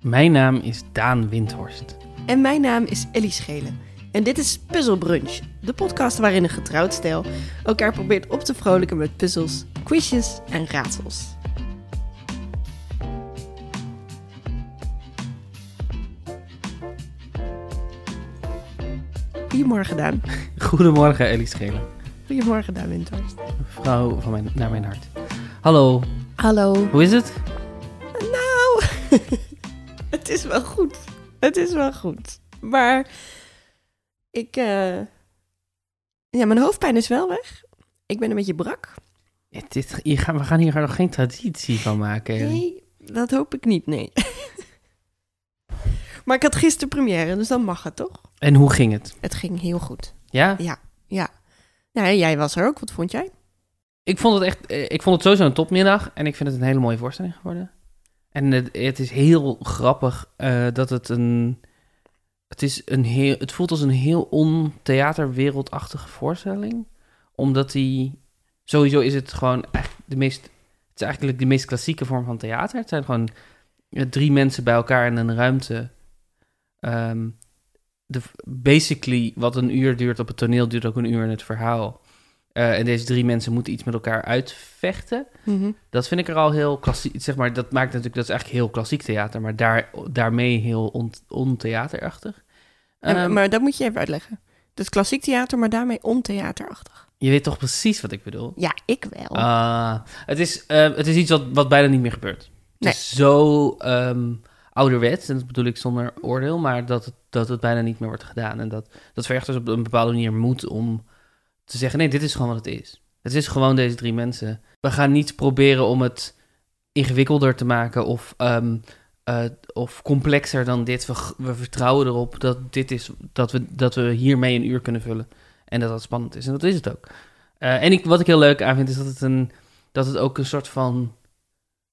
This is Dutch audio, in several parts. Mijn naam is Daan Windhorst. En mijn naam is Ellie Schelen. En dit is Puzzle Brunch, de podcast waarin een getrouwd stijl elkaar probeert op te vrolijken met puzzels, quizjes en raadsels. Goedemorgen Daan. Goedemorgen, Ellie Schelen. Goedemorgen Daan Windhorst. Vrouw van mijn, naar mijn hart. Hallo, Hallo. hoe is het? Nou, het is wel goed. Het is wel goed. Maar ik... eh, Ja, mijn hoofdpijn is wel weg. Ik ben een beetje brak. Het is- hier gaan, we gaan hier nog geen traditie van maken. Ellie. Nee, dat hoop ik niet, nee. maar ik had gisteren première, dus dan mag het toch? En hoe ging het? Het ging heel goed. Ja? Nou, en jij was er ook, wat vond jij? Ik vond het echt, eh, ik vond het sowieso een topmiddag en ik vind het een hele mooie voorstelling geworden. En het, het is heel grappig eh, dat het een, het is een heel, het voelt als een heel ontheaterwereldachtige voorstelling, omdat die, sowieso is het gewoon echt de meest, het is eigenlijk de meest klassieke vorm van theater. Het zijn gewoon eh, drie mensen bij elkaar in een ruimte. Ehm, de, basically wat een uur duurt op het toneel duurt ook een uur in het verhaal. Eh, en deze drie mensen moeten iets met elkaar uitvechten. Mm-hmm. Dat vind ik er al heel klassiek. Zeg maar, dat maakt natuurlijk, dat is eigenlijk heel klassiek theater, maar daar, daarmee heel on, ontheaterachtig. En- Ehm, maar dat moet je even uitleggen. Dus klassiek theater, maar daarmee ontheaterachtig. je weet toch precies wat ik bedoel? Ja, ik wel. Ah, het, is, eh, het is iets wat, wat bijna niet meer gebeurt. Het Nee. is zo ehm, ouderwets, en dat bedoel ik zonder oordeel, maar dat het, dat het bijna niet meer wordt gedaan. En dat, dat vergt dus op een bepaalde manier moed om te zeggen, nee, dit is gewoon wat het is. Het is gewoon deze drie mensen. We gaan niet proberen om het ingewikkelder te maken of, ehm, eh, of complexer dan dit. We, g- we vertrouwen erop dat, dit is, dat, we, dat we hiermee een uur kunnen vullen. En dat dat spannend is. En dat is het ook. Eh, en ik, wat ik heel leuk aan vind, is dat het, een, dat het ook een soort van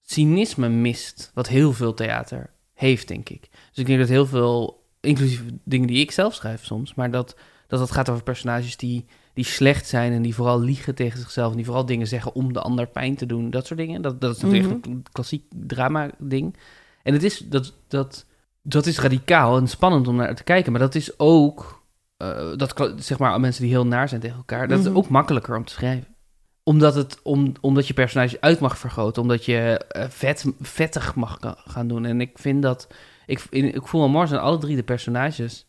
cynisme mist. Wat heel veel theater heeft, denk ik. Dus ik denk dat heel veel, inclusief dingen die ik zelf schrijf soms, maar dat dat, dat gaat over personages die, die slecht zijn en die vooral liegen tegen zichzelf. En die vooral dingen zeggen om de ander pijn te doen. Dat soort dingen. Dat, dat is natuurlijk echt een klassiek drama-ding. En het is, dat, dat, dat is radicaal en spannend om naar te kijken. Maar dat is ook. eh, dat, kan- zeg maar, mensen die heel naar zijn tegen elkaar. Dat Mhm. is ook makkelijker om te schrijven. Omdat, het, om, omdat je personage uit mag vergroten. Omdat je eh, vet, vettig mag ka- gaan doen. En ik vind dat. Ik, in, ik voel me morgen zijn alle drie de personages.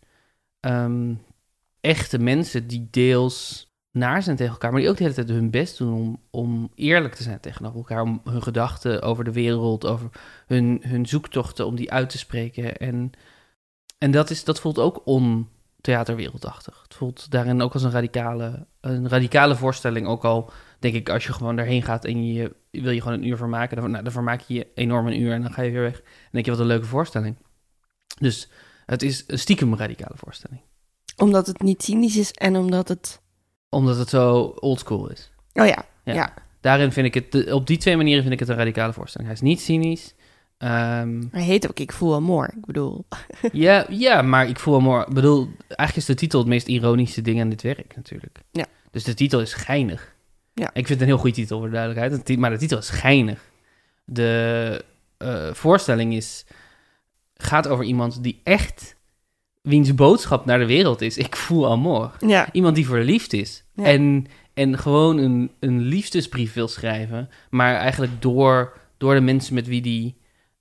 ehm, echte mensen die deels naar zijn tegen elkaar, maar die ook de hele tijd hun best doen om, om eerlijk te zijn tegenover elkaar, om hun gedachten over de wereld, over hun, hun zoektochten, om die uit te spreken. En, en dat, is, dat voelt ook ontheaterwereldachtig. Het voelt daarin ook als een radicale, een radicale voorstelling, ook al denk ik als je gewoon daarheen gaat en je je wil je gewoon een uur vermaken, dan, nou, dan vermaak je je enorm een uur en dan ga je weer weg. En denk je, wat een leuke voorstelling. Dus het is een stiekem radicale voorstelling Omdat het niet cynisch is en omdat het... omdat het zo oldschool is. Oh ja, Daarin vind ik het, de- op die twee manieren vind ik het een radicale voorstelling. Hij is niet cynisch. Ehm, hij heet ook Ik voel amor. Ik bedoel, ja, ja, maar ik voel hem hoor. Ik bedoel, eigenlijk is de titel het meest ironische ding aan dit werk natuurlijk. Ja. Dus de titel is geinig. Ja. Ik vind het een heel goede titel voor de duidelijkheid. Een ti- Maar de titel is geinig. De eh, voorstelling is, gaat over iemand die echt, wiens boodschap naar de wereld is. Ik voel amor. ja, iemand die verliefd is. Ja. En, en gewoon een, een liefdesbrief wil schrijven. Maar eigenlijk door, door de mensen met wie die,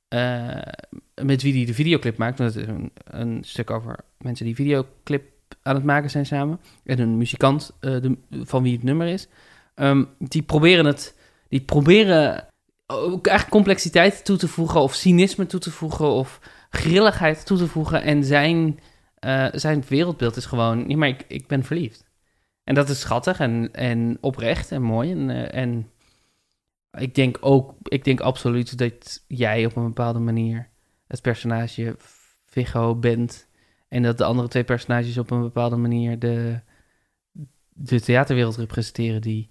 eh, met wie die de videoclip maakt. Want het is een, een stuk over mensen die videoclip aan het maken zijn samen. En een muzikant eh, de, van wie het nummer is. Ehm, die proberen het. Die proberen ook eigenlijk complexiteit toe te voegen. Of cynisme toe te voegen. Of grilligheid toe te voegen. En zijn, eh, zijn wereldbeeld is gewoon. Ja, maar ik, ik ben verliefd. En dat is schattig en, en oprecht en mooi. En, eh, en ik denk ook, ik denk absoluut dat jij op een bepaalde manier het personage Viggo bent. En dat de andere twee personages op een bepaalde manier de, de theaterwereld representeren. Die,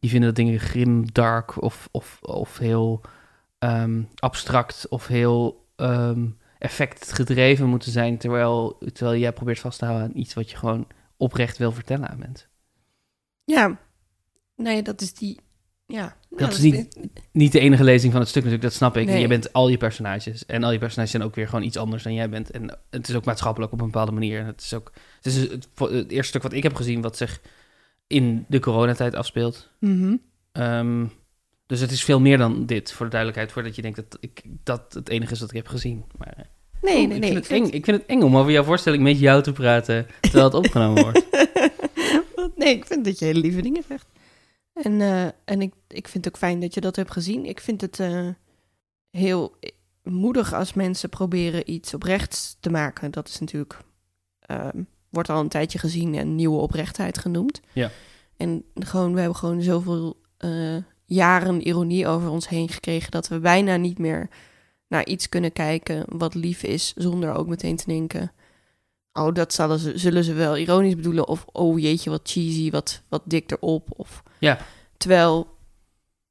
die vinden dat dingen grim, dark of, of, of heel ehm, abstract of heel ehm, effectgedreven moeten zijn. Terwijl, terwijl jij probeert vast te houden aan iets wat je gewoon oprecht wil vertellen aan mensen. ja. Nee, dat is die Ja. Nou, Dat is niet, niet de enige lezing van het stuk natuurlijk, dat snap ik. Nee. Je bent al je personages. En al je personages zijn ook weer gewoon iets anders dan jij bent. En het is ook maatschappelijk op een bepaalde manier. En het is ook het, is het, het eerste stuk wat ik heb gezien wat zich in de coronatijd afspeelt. Mhm. Ehm, dus het is veel meer dan dit, voor de duidelijkheid. Voordat je denkt dat ik, dat het enige is wat ik heb gezien. Maar, eh, Nee, oeh, nee, ik, nee. vind het eng, ik vind het eng om over jouw voorstelling met jou te praten terwijl het opgenomen wordt. Wat? nee, ik vind dat je hele lieve dingen zegt. En, eh, en ik, ik vind het ook fijn dat je dat hebt gezien. Ik vind het eh, heel moedig als mensen proberen iets oprechts te maken. Dat is natuurlijk, ehm, wordt al een tijdje gezien en nieuwe oprechtheid genoemd. Ja. En gewoon, we hebben gewoon zoveel eh, jaren ironie over ons heen gekregen dat we bijna niet meer naar iets kunnen kijken wat lief is, zonder ook meteen te denken. Oh, dat zullen ze, zullen ze wel ironisch bedoelen. Of oh jeetje, wat cheesy, wat, wat dik erop. Of, Ja. Terwijl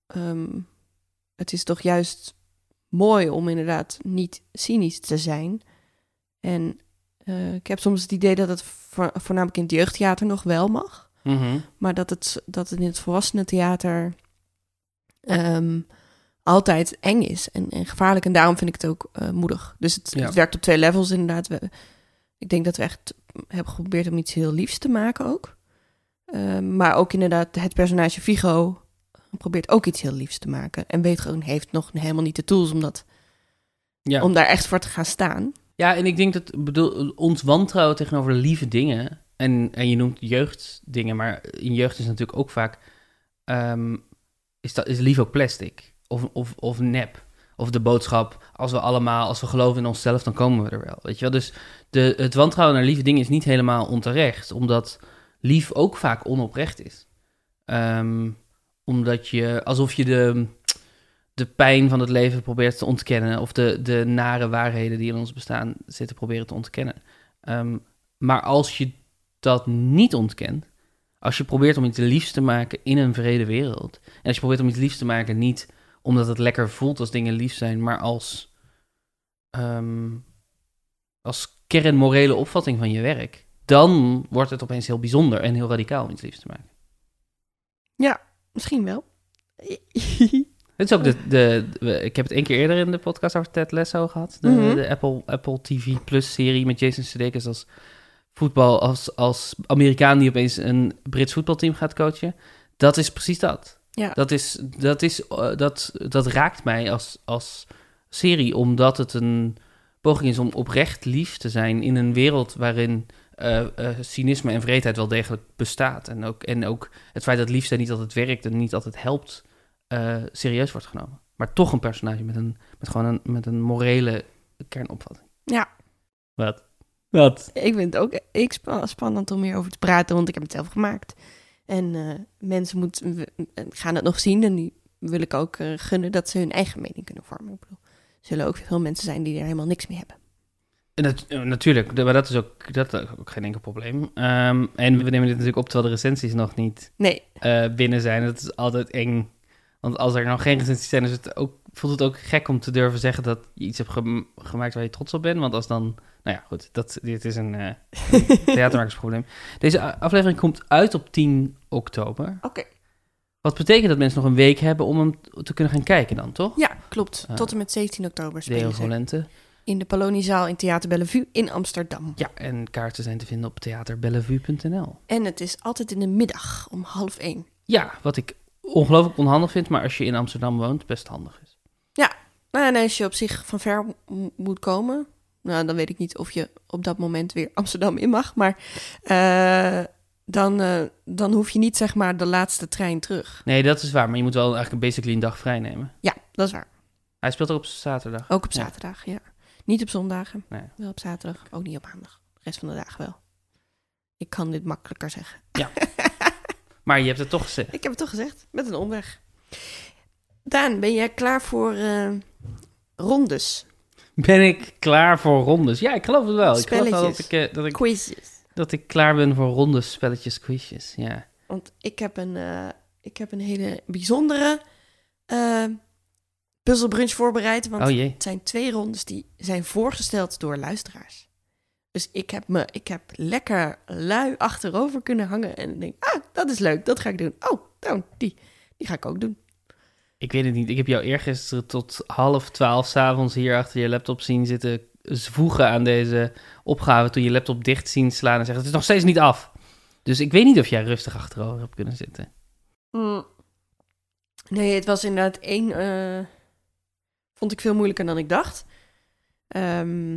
ehm, het is toch juist mooi om inderdaad niet cynisch te zijn. En eh, ik heb soms het idee dat het vo- voornamelijk in het jeugdtheater nog wel mag. Mhm. Maar dat het, dat het in het volwassenentheater ehm altijd eng is en, en gevaarlijk. En daarom vind ik het ook eh, moedig. Dus het, Ja. het werkt op twee levels inderdaad. We- ik denk dat we echt hebben geprobeerd om iets heel liefs te maken ook. Ehm, maar ook inderdaad het personage Vigo probeert ook iets heel liefs te maken. En weet gewoon, heeft nog helemaal niet de tools om, dat, Ja. om daar echt voor te gaan staan. Ja, en ik denk dat bedoel, ons wantrouwen tegenover lieve dingen. En, en je noemt jeugddingen, maar in jeugd is natuurlijk ook vaak. ehm, is, dat, is lief ook plastic? Of, of, of nep? Of de boodschap: als we allemaal, als we geloven in onszelf, dan komen we er wel. Weet je wel? Dus de, het wantrouwen naar lieve dingen is niet helemaal onterecht, omdat lief ook vaak onoprecht is. Ehm, omdat je alsof je de, de pijn van het leven probeert te ontkennen. Of de, de nare waarheden die in ons bestaan zitten proberen te ontkennen. Ehm, maar als je dat niet ontkent. Als je probeert om iets liefs te maken in een vrede wereld. En als je probeert om iets liefs te maken niet omdat het lekker voelt als dingen lief zijn. Maar als, ehm, als kernmorele opvatting van je werk. Dan wordt het opeens heel bijzonder en heel radicaal om iets liefs te maken. Misschien wel. Het is ook de, Oh. de, de- Ik heb het één keer eerder in de podcast over Ted Lasso gehad. De, Mhm. de Apple, Apple TV Plus serie met Jason Sudeikis als voetbal... Als, als Amerikaan die opeens een Brits voetbalteam gaat coachen. Dat is precies dat. Ja. Dat, is, dat, is, eh, dat, dat raakt mij als, als serie, omdat het een poging is om oprecht lief te zijn in een wereld waarin eh, eh, cynisme en vreedheid wel degelijk bestaat. En ook, en ook het feit dat lief zijn niet altijd werkt en niet altijd helpt, eh, serieus wordt genomen. Maar toch een personage met, een, met gewoon een, met een morele kernopvatting. Ja. Wat? Wat? Ik vind het ook ik spa- spannend om hierover te praten, want ik heb het zelf gemaakt. En eh, mensen moeten w- gaan het nog zien en die wil ik ook eh, gunnen dat ze hun eigen mening kunnen vormen. Ik bedoel, er zullen ook veel mensen zijn die er helemaal niks mee hebben. En dat- eh, natuurlijk, de- maar dat is ook, dat is ook geen enkel probleem. Ehm, en we nemen dit natuurlijk op terwijl de recensies nog niet Nee, eh, binnen zijn. Dat is altijd eng. Want als er nou geen recensies zijn, is het ook, voelt het ook gek om te durven zeggen dat je iets hebt gem- gemaakt waar je trots op bent. Want als dan, nou ja, goed, dat, dit is een eh, theatermakersprobleem. Deze a- aflevering komt uit op 10 oktober. oké. Wat betekent dat mensen nog een week hebben om hem t- te kunnen gaan kijken dan, toch? Ja, klopt. Ah. Tot en met 17 oktober De spelen ze Rolente. in de Paloniezaal in Theater Bellevue in Amsterdam. Ja, en kaarten zijn te vinden op theaterbellevue.nl. En het is altijd in de middag om half één. Ja, wat ik ongelooflijk onhandig vind, maar als je in Amsterdam woont, best handig is. Nou, en als je op zich van ver mo- moet komen, nou, dan weet ik niet of je op dat moment weer Amsterdam in mag, maar eh, dan, eh, dan hoef je niet zeg maar de laatste trein terug. Nee, dat is waar, maar je moet wel eigenlijk basically een dag vrij nemen. Ja, dat is waar. Hij speelt er op zaterdag. Ook op Ja. zaterdag, ja. Niet op zondagen, Nee. wel op zaterdag, ook niet op maandag. De rest van de dagen wel. Ik kan dit makkelijker zeggen. Maar je hebt het toch gezegd. Ik heb het toch gezegd, met een omweg. Daan, ben jij klaar voor eh, rondes, Ben ik klaar voor rondes? Ja, ik geloof het wel. Ik geloof wel dat Spelletjes. ik, eh, dat, ik, quizzes? dat ik klaar ben voor rondes, spelletjes, quizjes. Ja. Want ik heb een, eh, ik heb een hele bijzondere eh puzzelbrunch voorbereid. Want Oh jee. het zijn twee rondes die zijn voorgesteld door luisteraars. Dus ik heb, me, ik heb lekker lui achterover kunnen hangen. En ik denk, ah, dat is leuk, dat ga ik doen. Oh, nou, die, die ga ik ook doen. Ik weet het niet. Ik heb jou eergisteren tot half twaalf s'avonds hier achter je laptop zien zitten zwoegen aan deze opgave. Toen je laptop dicht zien slaan en zeggen: Het is nog steeds niet af. Dus ik weet niet of jij rustig achterover hebt kunnen zitten. Mm. Nee, het was inderdaad één. eh, vond ik veel moeilijker dan ik dacht. Ehm,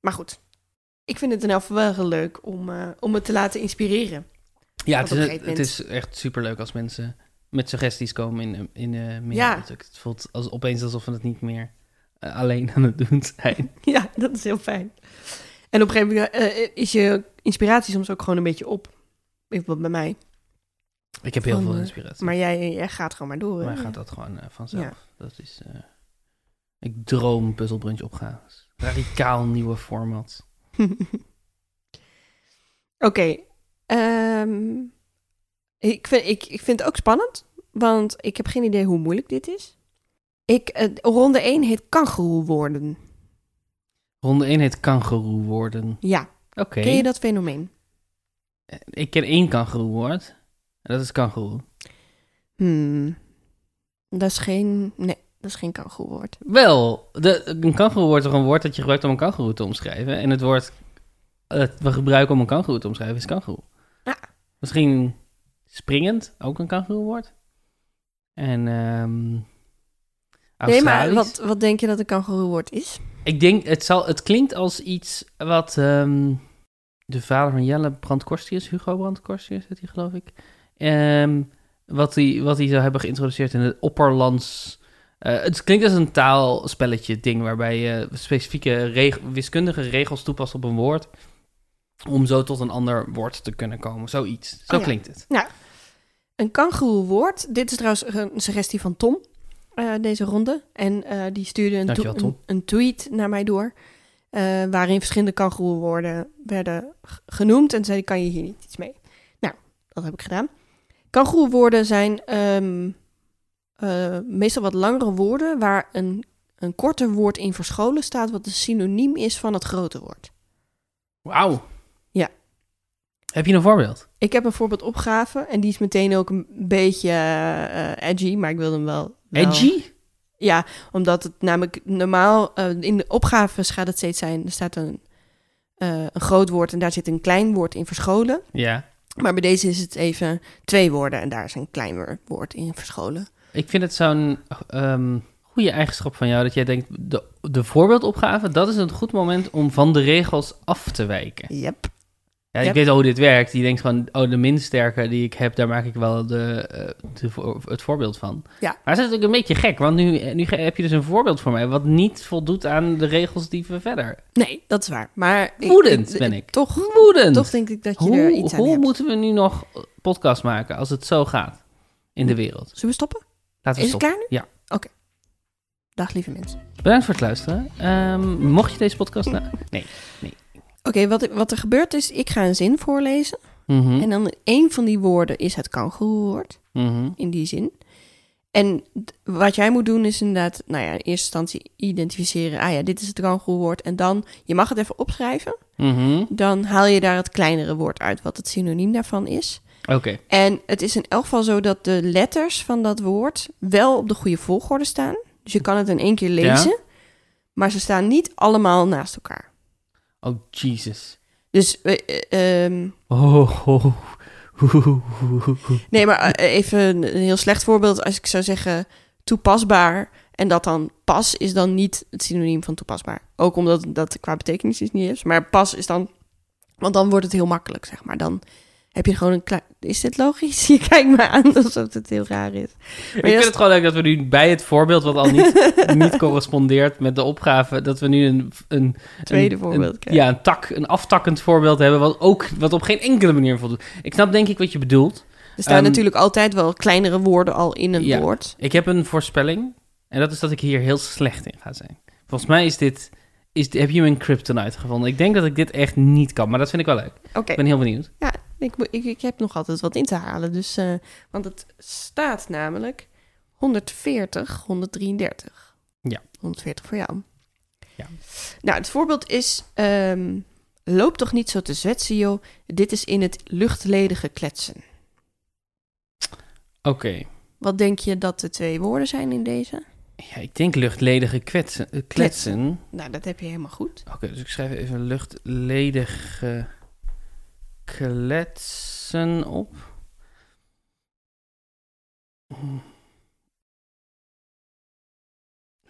maar goed. Ik vind het in elk geval wel heel leuk om, eh, om me te laten inspireren. Ja, Op het een is, gegeven het moment. is echt superleuk als mensen met suggesties komen in, de- in de mail. Ja. natuurlijk. Het voelt als, opeens alsof we het niet meer eh, alleen aan het doen zijn. Ja, dat is heel fijn. En op een gegeven moment eh, is je inspiratie soms ook gewoon een beetje op. Bijvoorbeeld bij mij. Ik heb heel Van, veel eh, inspiratie. Maar jij, jij gaat gewoon maar door. hè? Maar gaat dat gewoon eh, vanzelf? Dat is. eh, ik droom puzzelbrunch opgaves. Radicaal nieuwe format. Oké. ehm, ik, vind, ik, ik vind het ook spannend, want ik heb geen idee hoe moeilijk dit is. Ik, eh, ronde 1 heet kangeroe worden. Ronde 1 heet kangeroe worden. Ja, Oké. ken je dat fenomeen? Ik ken één kangeroe woord. En dat is kangeroe. Hmm. Dat is geen... Nee, dat is geen kangeroe woord. Wel, de, een kangeroe wordt toch een woord dat je gebruikt om een kangeroe te omschrijven. En het woord dat we gebruiken om een kangeroe te omschrijven is kangeroe. Ja. Misschien springend, ook een kangeroe woord. En ehm Ah, Nee, maar Australisch. wat, wat denk je dat een kangeroe woord is? Ik denk, het, zal, het klinkt als iets wat ehm, de vader van Jelle Brandkorstius, Hugo Brandkorstius heet hij geloof ik, ehm, wat hij wat hij zou hebben geïntroduceerd in het opperlands. eh, het klinkt als een taalspelletje ding waarbij je specifieke reg- wiskundige regels toepast op een woord om zo tot een ander woord te kunnen komen. Zoiets. Zo Oh ja. klinkt het. Een kangeroe woord. Dit is trouwens een suggestie van Tom, eh, deze ronde. En eh, die stuurde een, Dankjewel, toe- Tom. een, een tweet naar mij door. eh, waarin verschillende kangeroe woorden werden g- genoemd. En zei, kan je hier niet iets mee? Nou, dat heb ik gedaan. Kangeroe woorden zijn ehm, eh, meestal wat langere woorden... waar een, een korter woord in verscholen staat... wat een synoniem is van het grote woord. Wauw. Ja. Heb je een voorbeeld? Ik heb een voorbeeld opgave en die is meteen ook een beetje eh, edgy, maar ik wilde hem wel... wel- Edgy? Ja, omdat het namelijk normaal eh, in de opgaves gaat het steeds zijn. Er staat een, eh, een groot woord en daar zit een klein woord in verscholen. Ja. Maar bij deze is het even twee woorden en daar is een kleiner woord in verscholen. Ik vind het zo'n ehm goede eigenschap van jou dat jij denkt: de, de voorbeeldopgave, dat is een goed moment om van de regels af te wijken. Yep. Ja, ik Yep. weet al hoe dit werkt. Die denkt van: oh, de minst sterke die ik heb, daar maak ik wel de, eh, de voor- het voorbeeld van. Ja. Maar het is natuurlijk een beetje gek, want nu, nu ge- heb je dus een voorbeeld voor mij wat niet voldoet aan de regels die we verder. Nee, dat is waar. Maar ik- Woedend ben ik. Toch, Woedend! toch denk ik dat je er hoe iets aan hoe hebt. moeten we nu nog podcast maken als het zo gaat in de wereld? Zullen we stoppen? Laten we Is het stoppen. klaar nu? Ja. Oké. Dag lieve mensen. Bedankt voor het luisteren. Ehm, mocht je deze podcast... na- nee. Oké, wat, ik- wat er gebeurt is, ik ga een zin voorlezen. Mhm. En dan één van die woorden is het kangeroewoord. Mhm. in die zin. En d- wat jij moet doen is inderdaad, nou ja, in eerste instantie identificeren. Ah ja, dit is het kangeroewoord. En dan, je mag het even opschrijven. Mhm. Dan haal je daar het kleinere woord uit, wat het synoniem daarvan is. Oké. En het is in elk geval zo dat de letters van dat woord wel op de goede volgorde staan. Dus je kan het in één keer lezen. Maar ze staan niet allemaal naast elkaar. Oh, Jesus. Dus eh, eh, ehm, Oh, oh. Nee, maar eh, even een een heel slecht voorbeeld. Als ik zou zeggen toepasbaar en dat dan pas is dan niet het synoniem van toepasbaar. Ook omdat dat qua betekenis is niet is. Maar pas is dan, want dan wordt het heel makkelijk, zeg maar. Dan heb je gewoon een klein... Is dit logisch? Je kijkt me aan alsof het heel raar is. Ik vind het gewoon leuk dat we nu bij het voorbeeld, wat al niet, niet correspondeert met de opgave, dat we nu een... een Tweede een- voorbeeld een- krijgen. ja, een, tak, een aftakkend voorbeeld hebben, wat, ook, wat op geen enkele manier voldoet. Ik snap denk ik wat je bedoelt. Er staan Ehm, natuurlijk altijd wel kleinere woorden al in een ja. woord. Ik heb een voorspelling. En dat is dat ik hier heel slecht in ga zijn. Volgens mij is dit. Is, heb je mijn kryptonite gevonden? Ik denk dat ik dit echt niet kan, maar dat vind ik wel leuk. Oké, Ik ben heel benieuwd. ja, ik, moet- ik, ik heb nog altijd wat in te halen. Dus, eh, want het staat namelijk 140, 133. Ja. 140 voor jou. Ja. Nou, het voorbeeld is... ehm, Loop toch niet zo te zwetsen, joh. Dit is in het luchtledige kletsen. Oké. Wat Wat denk je dat de twee woorden zijn in deze? Ja, ik denk luchtledige kwetsen, eh, kletsen. Nou, dat heb je helemaal goed. Oké, dus ik schrijf even luchtledige kletsen op.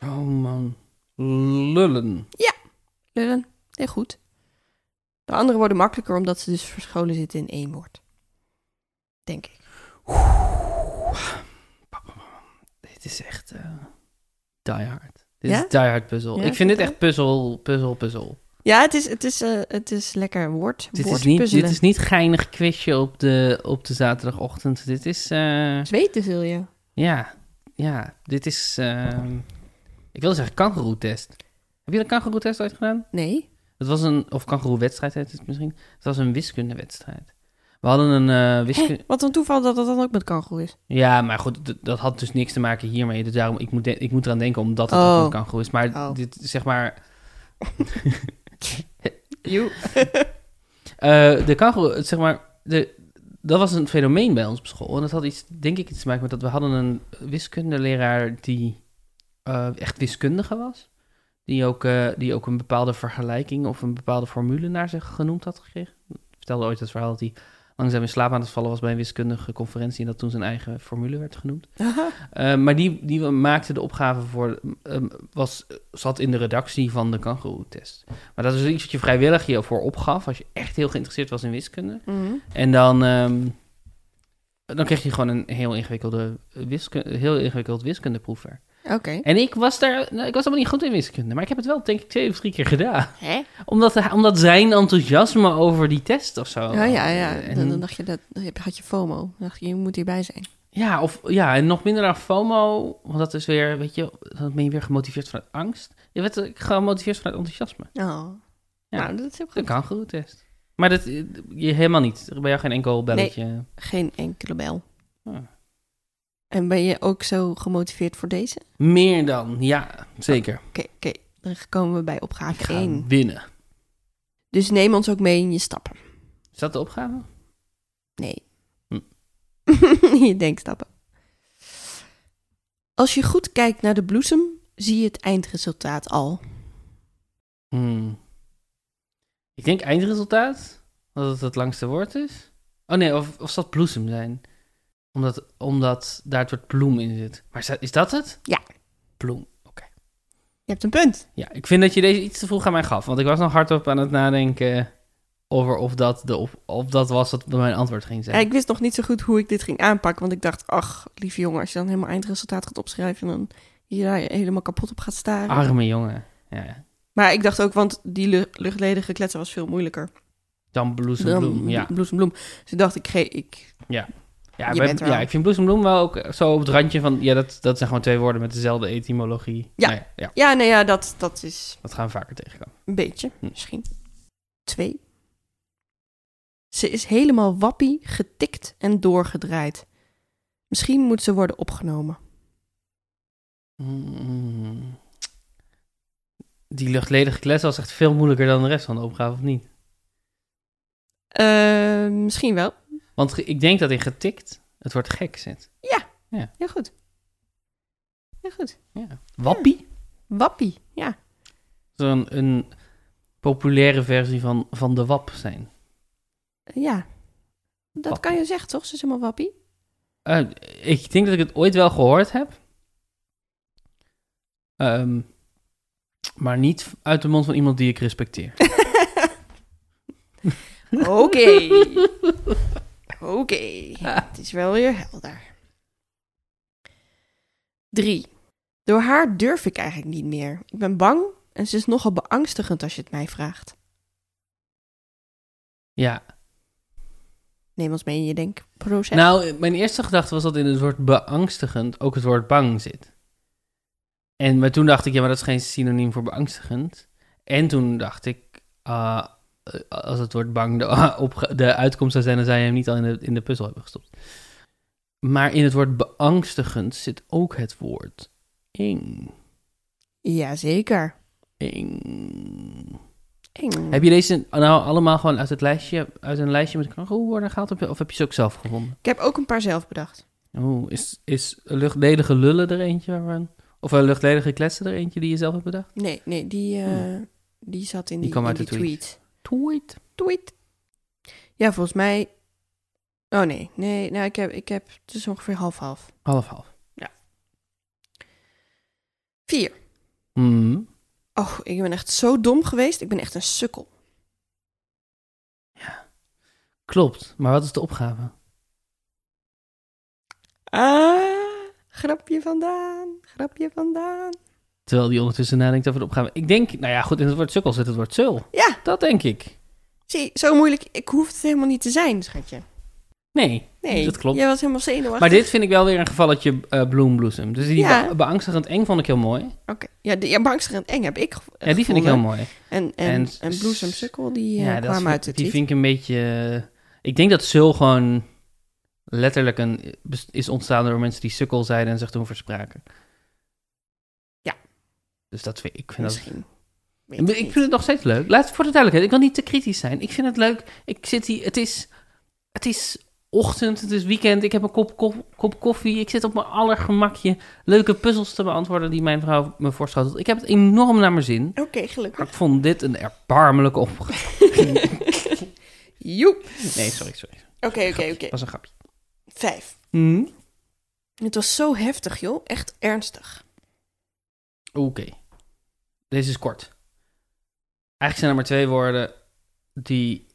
Oh man, lullen. Lullen. Heel goed. De andere worden makkelijker omdat ze dus verscholen zitten in één woord. Denk ik. Dit is echt eh die hard. Dit Ja? is die hard puzzel. Ja, ik vind dit oké. echt puzzel, puzzel, puzzel. Ja, het is, het is, eh, het is lekker woord, Dit is, niet, woordpuzzelen. dit is niet geinig quizje op de, op de zaterdagochtend. Dit is... eh, Zweten zul je. Ja, ja, dit is. ehm, ik wilde zeggen kangeroetest. Heb je een kangeroetest ooit gedaan? Nee. Het was een. Of kangeroewedstrijd heet het misschien. Het was een wiskundewedstrijd. We hadden een eh wiskunde. Hè, wat een toeval dat dat dan ook met kangoeroe is. Ja, maar goed, d- dat had dus niks te maken hiermee. Dus daarom, ik moet, de- ik moet eraan denken omdat het Oh. ook een kangeroe is. Maar Oh. dit, zeg maar. You. eh, de kangeroe, het zeg maar. De, dat was een fenomeen bij ons op school. En dat had iets, denk ik, iets te maken met dat we hadden een wiskundeleraar die eh, echt wiskundige was. Die ook, eh, die ook een bepaalde vergelijking of een bepaalde formule naar zich genoemd had gekregen. Ik vertelde ooit het verhaal dat hij langzaam in slaap aan het vallen was bij een wiskundige conferentie. En dat toen zijn eigen formule werd genoemd. Eh, maar die, die maakte de opgave voor. ehm, was, zat in de redactie van de kangoeroe-test. Maar dat is dus iets wat je vrijwillig je voor opgaf. als je echt heel geïnteresseerd was in wiskunde. Mhm. En dan. ehm, dan kreeg je gewoon een heel ingewikkelde wiskunde, heel ingewikkeld wiskundeproefwerk. Oké. En ik was daar, nou, ik was helemaal niet goed in wiskunde, maar ik heb het wel denk ik twee of drie keer gedaan. Hè? Omdat, hij- omdat zijn enthousiasme over die test of zo. eh, ja, ja, ja. Oh, En- Dan, dan dacht je dat, dan heb- had je FOMO. Dan dacht je, je moet hierbij zijn. Ja, of, ja, en nog minder dan FOMO, want dat is weer, weet je, dan ben je weer gemotiveerd vanuit angst. Je werd eh, gemotiveerd vanuit enthousiasme. Oh. Ja. Nou, dat is heel Dat goed. kan goed test. Maar dat, eh, je, helemaal niet. Er bij jou geen enkel belletje. Geen enkele bel. Ah. En ben je ook zo gemotiveerd voor deze? Meer dan, ja, zeker. Oké, oké. Dan komen we bij opgave Ik ga 1. winnen. Dus neem ons ook mee in je stappen. Is dat de opgave? Nee. Hm. je denkstappen. Als je goed kijkt naar de bloesem, zie je het eindresultaat al. Hmm. Ik denk eindresultaat, dat het het langste woord is. Oh nee, of, of zal het bloesem zijn? Omdat, omdat daar het woord bloem in zit. Maar is dat, is dat het? Ja. Bloem. Je hebt een punt. Ja, ik vind dat je deze iets te vroeg aan mij gaf. Want ik was nog hardop aan het nadenken over of dat, de op, of dat was wat mijn antwoord ging zijn. Ja, ik wist nog niet zo goed hoe ik dit ging aanpakken, want ik dacht, ach, lieve jongen, als je dan helemaal eindresultaat gaat opschrijven, dan je daar helemaal kapot op gaat staren. Arme jongen. Ja, Maar ik dacht ook, want die lu- luchtledige kletsen was veel moeilijker. dan dan bloesembloem. Ja, bl- bloesembloem. Dus ik dacht, ik, ge- ik ja, je wij- bent er ja wel. ik vind bloesembloem wel ook zo op het randje van... Ja, dat, dat zijn gewoon twee woorden met dezelfde etymologie. Ja. Nou ja, ja, Ja, nee, ja, dat, dat is dat gaan we vaker tegenkomen. een beetje, Hm. misschien. Twee. Ze is helemaal wappie, getikt en doorgedraaid. Misschien moet ze worden opgenomen. Mm. Die luchtledige kles was echt veel moeilijker dan de rest van de opgave, of niet? Eh, misschien wel. Want ge- ik denk dat in getikt het woord gek zit. Heel goed. Heel goed. Ja. Wappie? Wappie, ja. zou een, een populaire versie van, van de WAP zijn. Ja. Dat Wappie. kan je zeggen, toch? Ze is helemaal wappie. Eh, ik denk dat ik het ooit wel gehoord heb. Ehm, maar niet uit de mond van iemand die ik respecteer. Oké. Oké. Het is wel weer helder. Drie. Door haar durf ik eigenlijk niet meer. Ik ben bang en ze is nogal beangstigend als je het mij vraagt. Ja. Neem ons mee in je denkproces. Nou, mijn eerste gedachte was dat in het woord beangstigend ook het woord bang zit. En maar toen dacht ik, ja, maar dat is geen synoniem voor beangstigend. En toen dacht ik, ah, eh, als het woord bang de, opge- de uitkomst zou zijn, dan zou je hem niet al in de, in de puzzel hebben gestopt. Maar in het woord beangstigend zit ook het woord eng. Jazeker. Eng. Eng. Heb je deze nou allemaal gewoon uit, het lijstje, uit een lijstje met kangoeroe worden gehaald? Of heb je ze ook zelf gevonden? Ik heb ook een paar zelf bedacht. Oeh, is, is luchtledige lullen er eentje waarvan... Of een luchtledige kletsen er eentje die je zelf hebt bedacht? Nee, nee, die, eh, die zat in die, Hmm. kwam in uit die de tweet. tweet. Tweet. Tweet. Ja, volgens mij... Oh nee, nee, nou ik heb, ik heb het is ongeveer half-half. Half half. Vier. Mhm. Oh, ik ben echt zo dom geweest. Ik ben echt een sukkel. Klopt, maar wat is de opgave? Ah, grapje vandaan, grapje vandaan. Terwijl die ondertussen nadenkt over de opgave. Ik denk, nou ja, goed, in het woord sukkel zit het woord zul. Ja, Dat denk ik. zie, zo moeilijk. Ik hoef het helemaal niet te zijn, schatje. Nee, Nee, dat klopt. jij was helemaal zenuwachtig. Maar dit vind ik wel weer een gevalletje eh bloembloesem. Dus die Ja. be- beangstigend eng vond ik heel mooi. Oké, ja, de, ja, bangstig en eng heb ik gev- Ja, die vind ik gevonden. heel mooi. En, en, En- en bloesemsukkel, die eh, Ja, dat kwam is- uit de Die tweet. vind ik een beetje... eh, Ik denk dat zul gewoon letterlijk een, is ontstaan door mensen die sukkel zeiden en zich toen verspraken. Ja. Dus dat vind ik... Vind dat, Misschien. Weet ik ik vind niet. het nog steeds leuk. Laat voor de duidelijkheid, ik wil niet te kritisch zijn. Ik vind het leuk. Ik zit hier... Het is, het is ochtend, het is weekend. Ik heb een kop, kop, kop koffie. Ik zit op mijn allergemakje leuke puzzels te beantwoorden die mijn vrouw me voorschotelt. Ik heb het enorm naar mijn zin. Oké, Maar gelukkig. ik vond dit een erbarmelijke opgave. Joep. Nee, sorry, sorry. Oké, oké, oké. Dat was een grapje. Vijf. Hmm. Het was zo heftig, joh. Echt ernstig. Oké. Deze is kort. Eigenlijk zijn er maar twee woorden die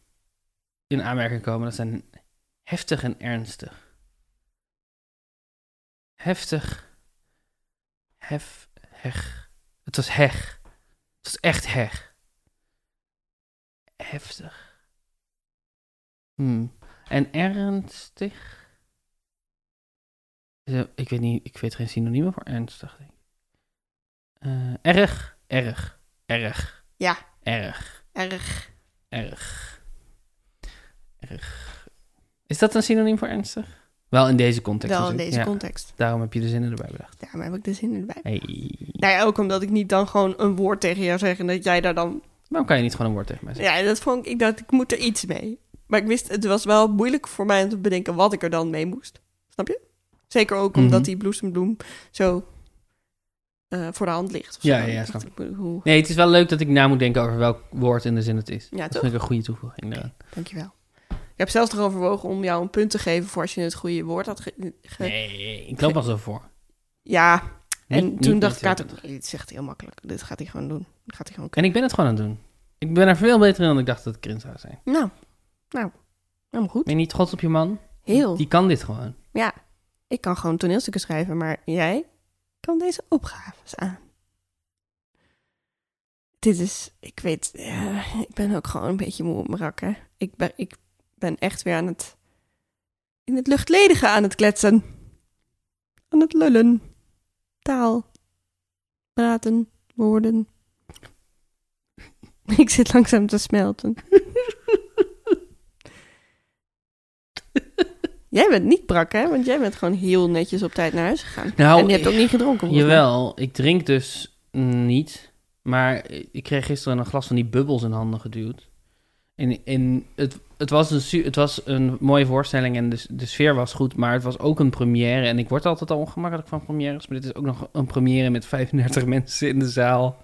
in aanmerking komen. Dat zijn heftig en ernstig. Heftig. Hef. Heg. Het was heg. Het was echt heg. Heftig. Hmm. En ernstig. Zo, Ik weet, niet, ik weet geen synoniemen voor ernstig. Denk ik. Eh, erg, erg, erg. Ja. Erg, Erg. erg. Erg. Is dat een synoniem voor ernstig? Wel in deze context. Wel in natuurlijk. deze Ja, context. Daarom heb je de zinnen erbij bedacht. Daarom heb ik de zin in erbij. Hey. Nou ja, ook omdat ik niet dan gewoon een woord tegen jou zeg en dat jij daar dan... Waarom kan je niet gewoon een woord tegen mij zeggen? Ja, dat vond ik... Ik dacht, ik moet er iets mee. Maar ik wist, het was wel moeilijk voor mij om te bedenken wat ik er dan mee moest. Snap je? Zeker ook omdat Mhm. die bloesembloem zo eh, voor de hand ligt. of Ja, zo. ja, Ik snap dacht, ik moet- hoe- Nee, het is wel leuk dat ik na moet denken over welk woord in de zin het is. Ja, dat toch? vind ik een goede toevoeging. eraan. Dankjewel. Ik heb zelfs nog overwogen om jou een punt te geven voor als je het goede woord had ge- ge- Nee, ik loop al zo voor. Ja, en Niet- toen niet dacht ik met- later, nee, dit is echt heel makkelijk. Dit gaat hij gewoon doen. Dit gaat hij gewoon En ik ben het gewoon aan het doen. Ik ben er veel beter in dan ik dacht dat ik erin zou zijn. kunnen. Nou, nou, helemaal goed. Ben je niet trots op je man? Heel. Die kan dit gewoon. Ja, ik kan gewoon toneelstukken schrijven, maar jij kan deze opgaves aan. Dit is, ik weet, eh, ik ben ook gewoon een beetje moe op mijn rakken. Ik ben, ik ben echt weer aan het, in het luchtledige aan het kletsen. Aan het lullen. Taal. Praten. Woorden. Ik zit langzaam te smelten. Jij bent niet brak, hè? Want jij bent gewoon heel netjes op tijd naar huis gegaan. Nou, en je hebt ook niet gedronken. volgens mij. Jawel, ik drink dus niet. Maar ik kreeg gisteren een glas van die bubbels in handen geduwd. En, en het, het, was een, su- het was een mooie voorstelling en de, s- de sfeer was goed. Maar het was ook een première. En ik word altijd al ongemakkelijk van premières. Maar dit is ook nog een première met 35 mensen in de zaal.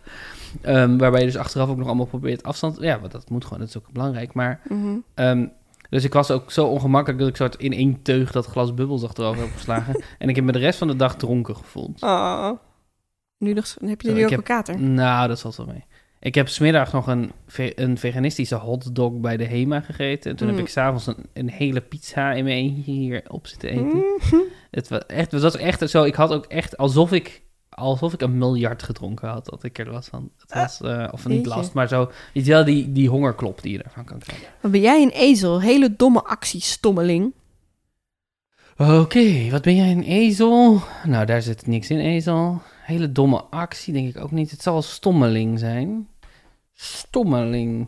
Ehm, waarbij je dus achteraf ook nog allemaal probeert afstand... Ja, want dat moet gewoon, dat is ook belangrijk. Maar Mhm. Ehm, dus ik was ook zo ongemakkelijk dat ik soort in één teug dat glas bubbels achterover heb geslagen. en ik heb me de rest van de dag dronken gevoeld. Oh. Nu nog, dan heb je Zo, nu ik ook heb- een kater. Nou, dat valt wel mee. Ik heb smiddag nog een, ve- een veganistische hotdog bij de HEMA gegeten. En toen Mm. heb ik s'avonds een, een hele pizza in mijn eentje hier op zitten eten. Mhm. Het was echt, het was echt zo. Ik had ook echt alsof ik, alsof ik een miljard gedronken had. Dat ik er last van. Het was, eh, of niet Ah, jeetje. last, maar zo. Weet je wel, die, die hongerklop die je ervan kan krijgen. Wat ben jij een ezel? Hele domme actie, stommeling. Oké, wat ben jij een ezel? Nou, daar zit niks in, ezel. Hele domme actie, denk ik ook niet. Het zal een stommeling zijn. Stommeling.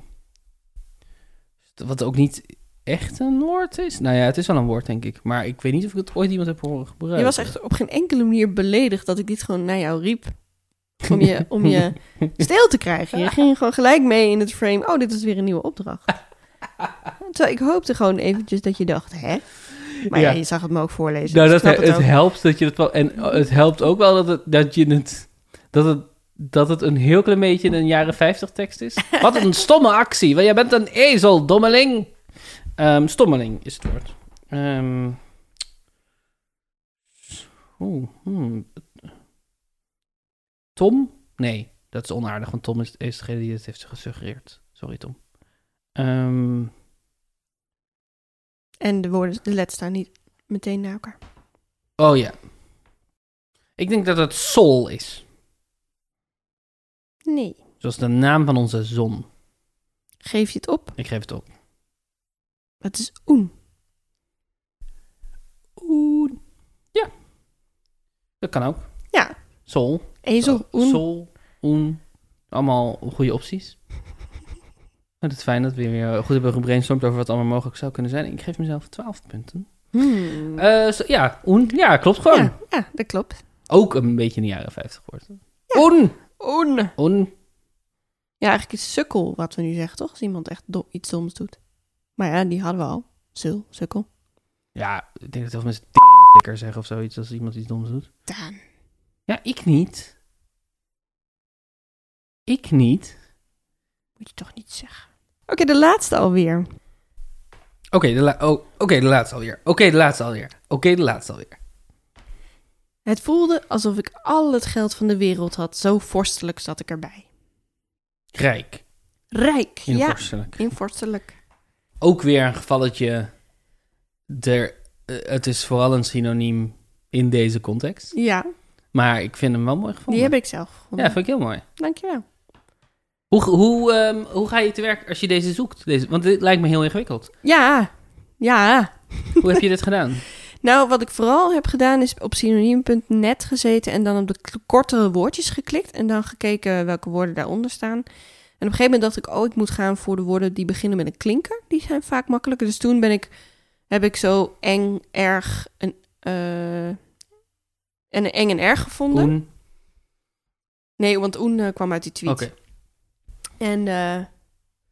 Wat ook niet echt een woord is. Nou ja, het is wel een woord, denk ik. Maar ik weet niet of ik het ooit iemand heb horen gebruiken. Je was echt op geen enkele manier beledigd dat ik dit gewoon naar jou riep. Om je, om je stil te krijgen. Je ging gewoon gelijk mee in het frame. Oh, dit is weer een nieuwe opdracht. Terwijl ik hoopte gewoon eventjes dat je dacht, hè? Maar Ja. ja, je zag het me ook voorlezen. Nou, dus dat, ik snap het, het ook. helpt dat je het wel. En eh, het helpt ook wel dat het, dat je het, dat het, dat het een heel klein beetje een jaren 50 tekst is. Wat een stomme actie, want jij bent een ezel, dommeling. Ehm, stommeling is het woord. Ehm Oeh, hmm. Tom? Nee, dat is onaardig, want Tom is, is degene die het heeft gesuggereerd. Sorry, Tom. Ehm En de woorden, de letters staan niet meteen na elkaar. Oh ja. Ik denk dat het Sol is. Nee. Zoals de naam van onze zon. Geef je het op? Ik geef het op. Het is oen. Oeh. Ja. Dat kan ook. Ja. Sol. Ezel, oen. Sol. Oen. Allemaal goede opties. Maar het is fijn dat we weer eh, goed hebben gebrainstormd over wat allemaal mogelijk zou kunnen zijn. Ik geef mezelf 12 punten. Hmm. Eh, zo- ja, oen. Ja, klopt gewoon. ja, ja, dat klopt. Ook een beetje in de jaren 50 wordt. Ja. Oen. Oen. Oen. Ja, eigenlijk is sukkel wat we nu zeggen, toch? Als iemand echt do- iets doms doet. Maar ja, die hadden we al. Zul, sukkel. Ja, ik denk dat heel veel mensen t***likker zeggen of zoiets als iemand iets doms doet. Daan. Ja, ik niet. Ik niet. Moet je toch niet zeggen. Oké, de laatste alweer. Oké, de, la- oh, oké, de laatste alweer. Oké, de laatste alweer. Oké, de laatste alweer. Het voelde alsof ik al het geld van de wereld had. Zo vorstelijk zat ik erbij. Rijk. Rijk, ja. Invorstelijk. Invorstelijk. Ook weer een gevalletje. Er, eh, het is vooral een synoniem in deze context. Ja, Maar ik vind hem wel mooi gevonden. die heb ik zelf gevonden. Ja, vind ik heel mooi. Dankjewel. Hoe, hoe, ehm, hoe ga je te werk als je deze zoekt? Deze, want dit lijkt me heel ingewikkeld. Ja, ja. Hoe heb je dit gedaan? Nou, wat ik vooral heb gedaan is op synoniem.net gezeten en dan op de k- kortere woordjes geklikt en dan gekeken welke woorden daaronder staan. En op een gegeven moment dacht ik, oh, ik moet gaan voor de woorden die beginnen met een klinker. Die zijn vaak makkelijker. Dus toen ben ik, heb ik zo eng, erg en, eh, en een eng en erg gevonden. Oen. Nee, want Oen eh, kwam uit die Oké. tweet. En, eh,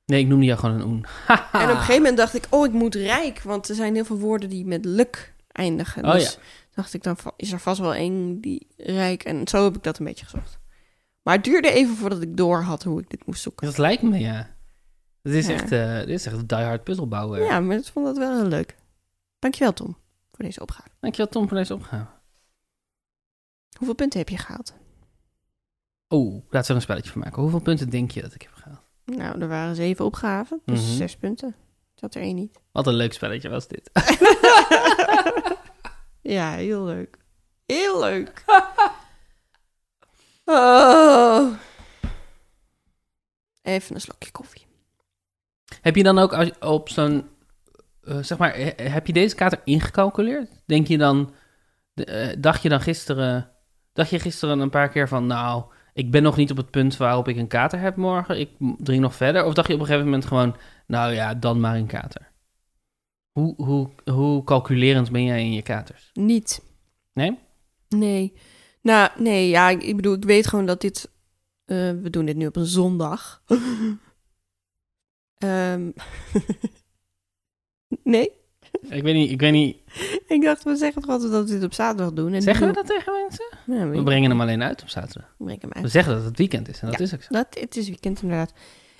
Nee, ik noemde jou gewoon een oen. en Ah. op een gegeven moment dacht ik, oh, ik moet rijk, want er zijn heel veel woorden die met luk eindigen. Oh, dus ja. dacht ik, dan va- is er vast wel één die rijk. En zo heb ik dat een beetje gezocht. Maar het duurde even voordat ik door had hoe ik dit moest zoeken. Dat lijkt me, ja. Dit is Ja. echt, eh dit is echt diehard puzzelbouwer. Ja, maar ik vond dat wel heel leuk. Dankjewel, Tom, voor deze opgave. Dankjewel Tom voor deze opgave. Hoeveel punten heb je gehaald? Oh, laten we er een spelletje van maken. Hoeveel punten denk je dat ik heb gehaald? Nou, er waren zeven opgaven, dus Mhm. zes punten. Dat er één niet. Wat een leuk spelletje was dit. ja, heel leuk. Heel leuk. Oh. Even een slokje koffie. heb je dan ook als, op zo'n... eh, zeg maar, he- heb je deze kater ingecalculeerd? Denk je dan... de- eh, dacht je dan gisteren... Dacht je gisteren een paar keer van... Nou, ik ben nog niet op het punt waarop ik een kater heb morgen. Ik m- drink nog verder. Of dacht je op een gegeven moment gewoon... Nou ja, dan maar een kater. Hoe, hoe, hoe calculerend ben jij in je katers? Niet. Nee? Nee. Nou, nee, ja, ik ik bedoel, ik weet gewoon dat dit... eh, we doen dit nu op een zondag. Ehm, nee, Ik weet niet... Ik weet niet ik dacht, we zeggen toch altijd dat we dit op zaterdag doen. En zeggen we dat tegen mensen? We brengen hem alleen uit op zaterdag. hem We uit. zeggen dat het weekend is en dat is ook zo. Dat, het is weekend inderdaad.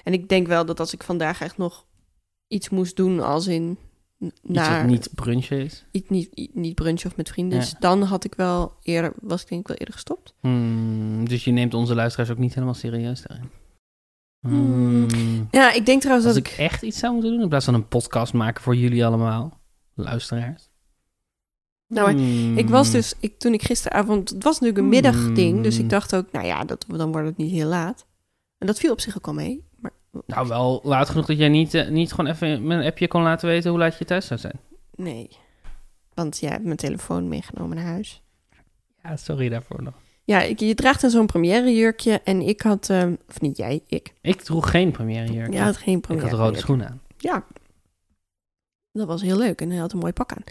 En ik denk wel dat als ik vandaag echt nog iets moest doen als in... n- Iets naar, wat niet brunchen is. Niet, niet, niet, brunchen of met vrienden. Ja. Dus dan had ik wel eerder, was ik denk ik wel eerder gestopt. Hmm, dus je neemt onze luisteraars ook niet helemaal serieus daarin. Hmm. Hmm. Ja, ik denk trouwens Als dat ik echt iets zou moeten doen, in plaats van een podcast maken voor jullie allemaal, luisteraars. Nou, maar Hmm. Ik was dus, ik, toen ik gisteravond, het was natuurlijk een middagding, dus Mm. ik dacht ook, nou ja, dat, dan wordt het niet heel laat. En dat viel op zich ook al mee. Maar, Nou, wel laat genoeg dat jij niet, eh, niet gewoon even met een appje kon laten weten hoe laat je thuis zou zijn. Nee. Want jij hebt mijn telefoon meegenomen naar huis. Ja, sorry daarvoor nog. Ja, ik, je draagt dan zo'n première jurkje en ik had, ehm, of niet jij, ik. Ik droeg geen première jurk. Ja, had geen ik première had rode jurk. schoenen aan. Dat was heel leuk en hij had een mooi pak aan.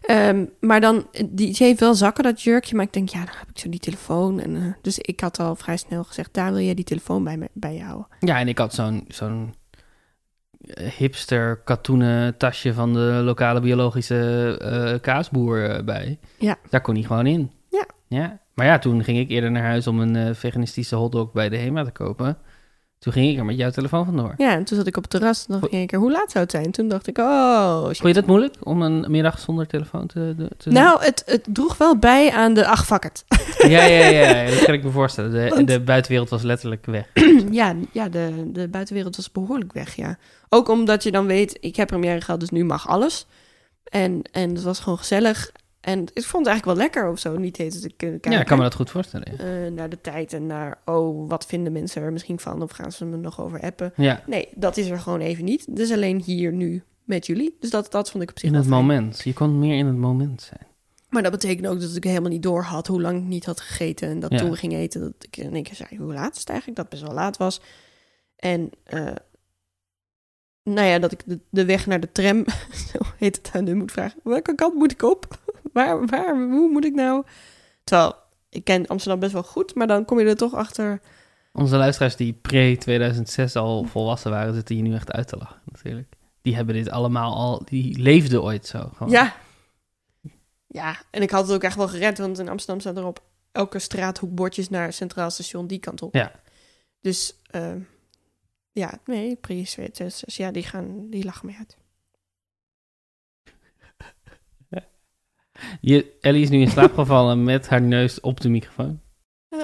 Ehm, maar dan, eh, die, ze heeft wel zakken, dat jurkje. Maar ik denk, ja, dan heb ik zo die telefoon. En, eh, dus ik had al vrij snel gezegd, daar wil jij die telefoon bij, me, bij je houden. Ja, en ik had zo'n zo'n eh, hipster katoenen tasje van de lokale biologische eh, kaasboer eh, bij. Ja. Daar kon hij gewoon in. Ja. ja. Maar ja, toen ging ik eerder naar huis om een eh, veganistische hotdog bij de HEMA te kopen. Toen ging ik er met jouw telefoon vandoor. Ja, en toen zat ik op het terras en dan ging ik er hoe laat zou het zijn? Toen dacht ik, oh... shit. Vond je dat moeilijk om een middag zonder telefoon te, te- te Nou, het, het droeg wel bij aan de... Ach, fuck it. doen? Ja, ja, ja, ja, dat kan ik me voorstellen. De, Want- de buitenwereld was letterlijk weg. ja, ja de, de buitenwereld was behoorlijk weg, ja. Ook omdat je dan weet, ik heb première gehad, dus nu mag alles. En, en het was gewoon gezellig. En ik vond het eigenlijk wel lekker of zo, niet steeds te kunnen kijken. Ja, ik kan me dat goed voorstellen. Ja. Eh, naar de tijd en naar, oh, wat vinden mensen er misschien van? Of gaan ze me nog over appen? Ja, Nee, dat is er gewoon even niet. Dus alleen hier nu met jullie. Dus dat, dat vond ik op zich in wel het fijn. moment. Je kon meer in het moment zijn. Maar dat betekent ook dat ik helemaal niet door had hoe lang ik niet had gegeten. En dat Ja. toen we gingen eten, dat ik in één keer zei hoe laat is het eigenlijk? Dat het best wel laat was. En eh, nou ja, dat ik de, de weg naar de tram, zo heet het aan de moet vragen. Welke kant moet ik op? Waar, waar, hoe moet ik nou? Terwijl, ik ken Amsterdam best wel goed, maar dan kom je er toch achter. Onze luisteraars die pre-2006 al volwassen waren, zitten hier nu echt uit te lachen natuurlijk. Die hebben dit allemaal al, die leefden ooit zo. Gewoon. Ja. Ja, en ik had het ook echt wel gered, want in Amsterdam staat erop elke straathoek bordjes naar Centraal Station die kant op. Ja. Dus eh, ja, nee, Prius 266, ja, die, gaan, die lachen mij uit. Je, Ellie is nu in slaap gevallen met haar neus op de microfoon. Eh.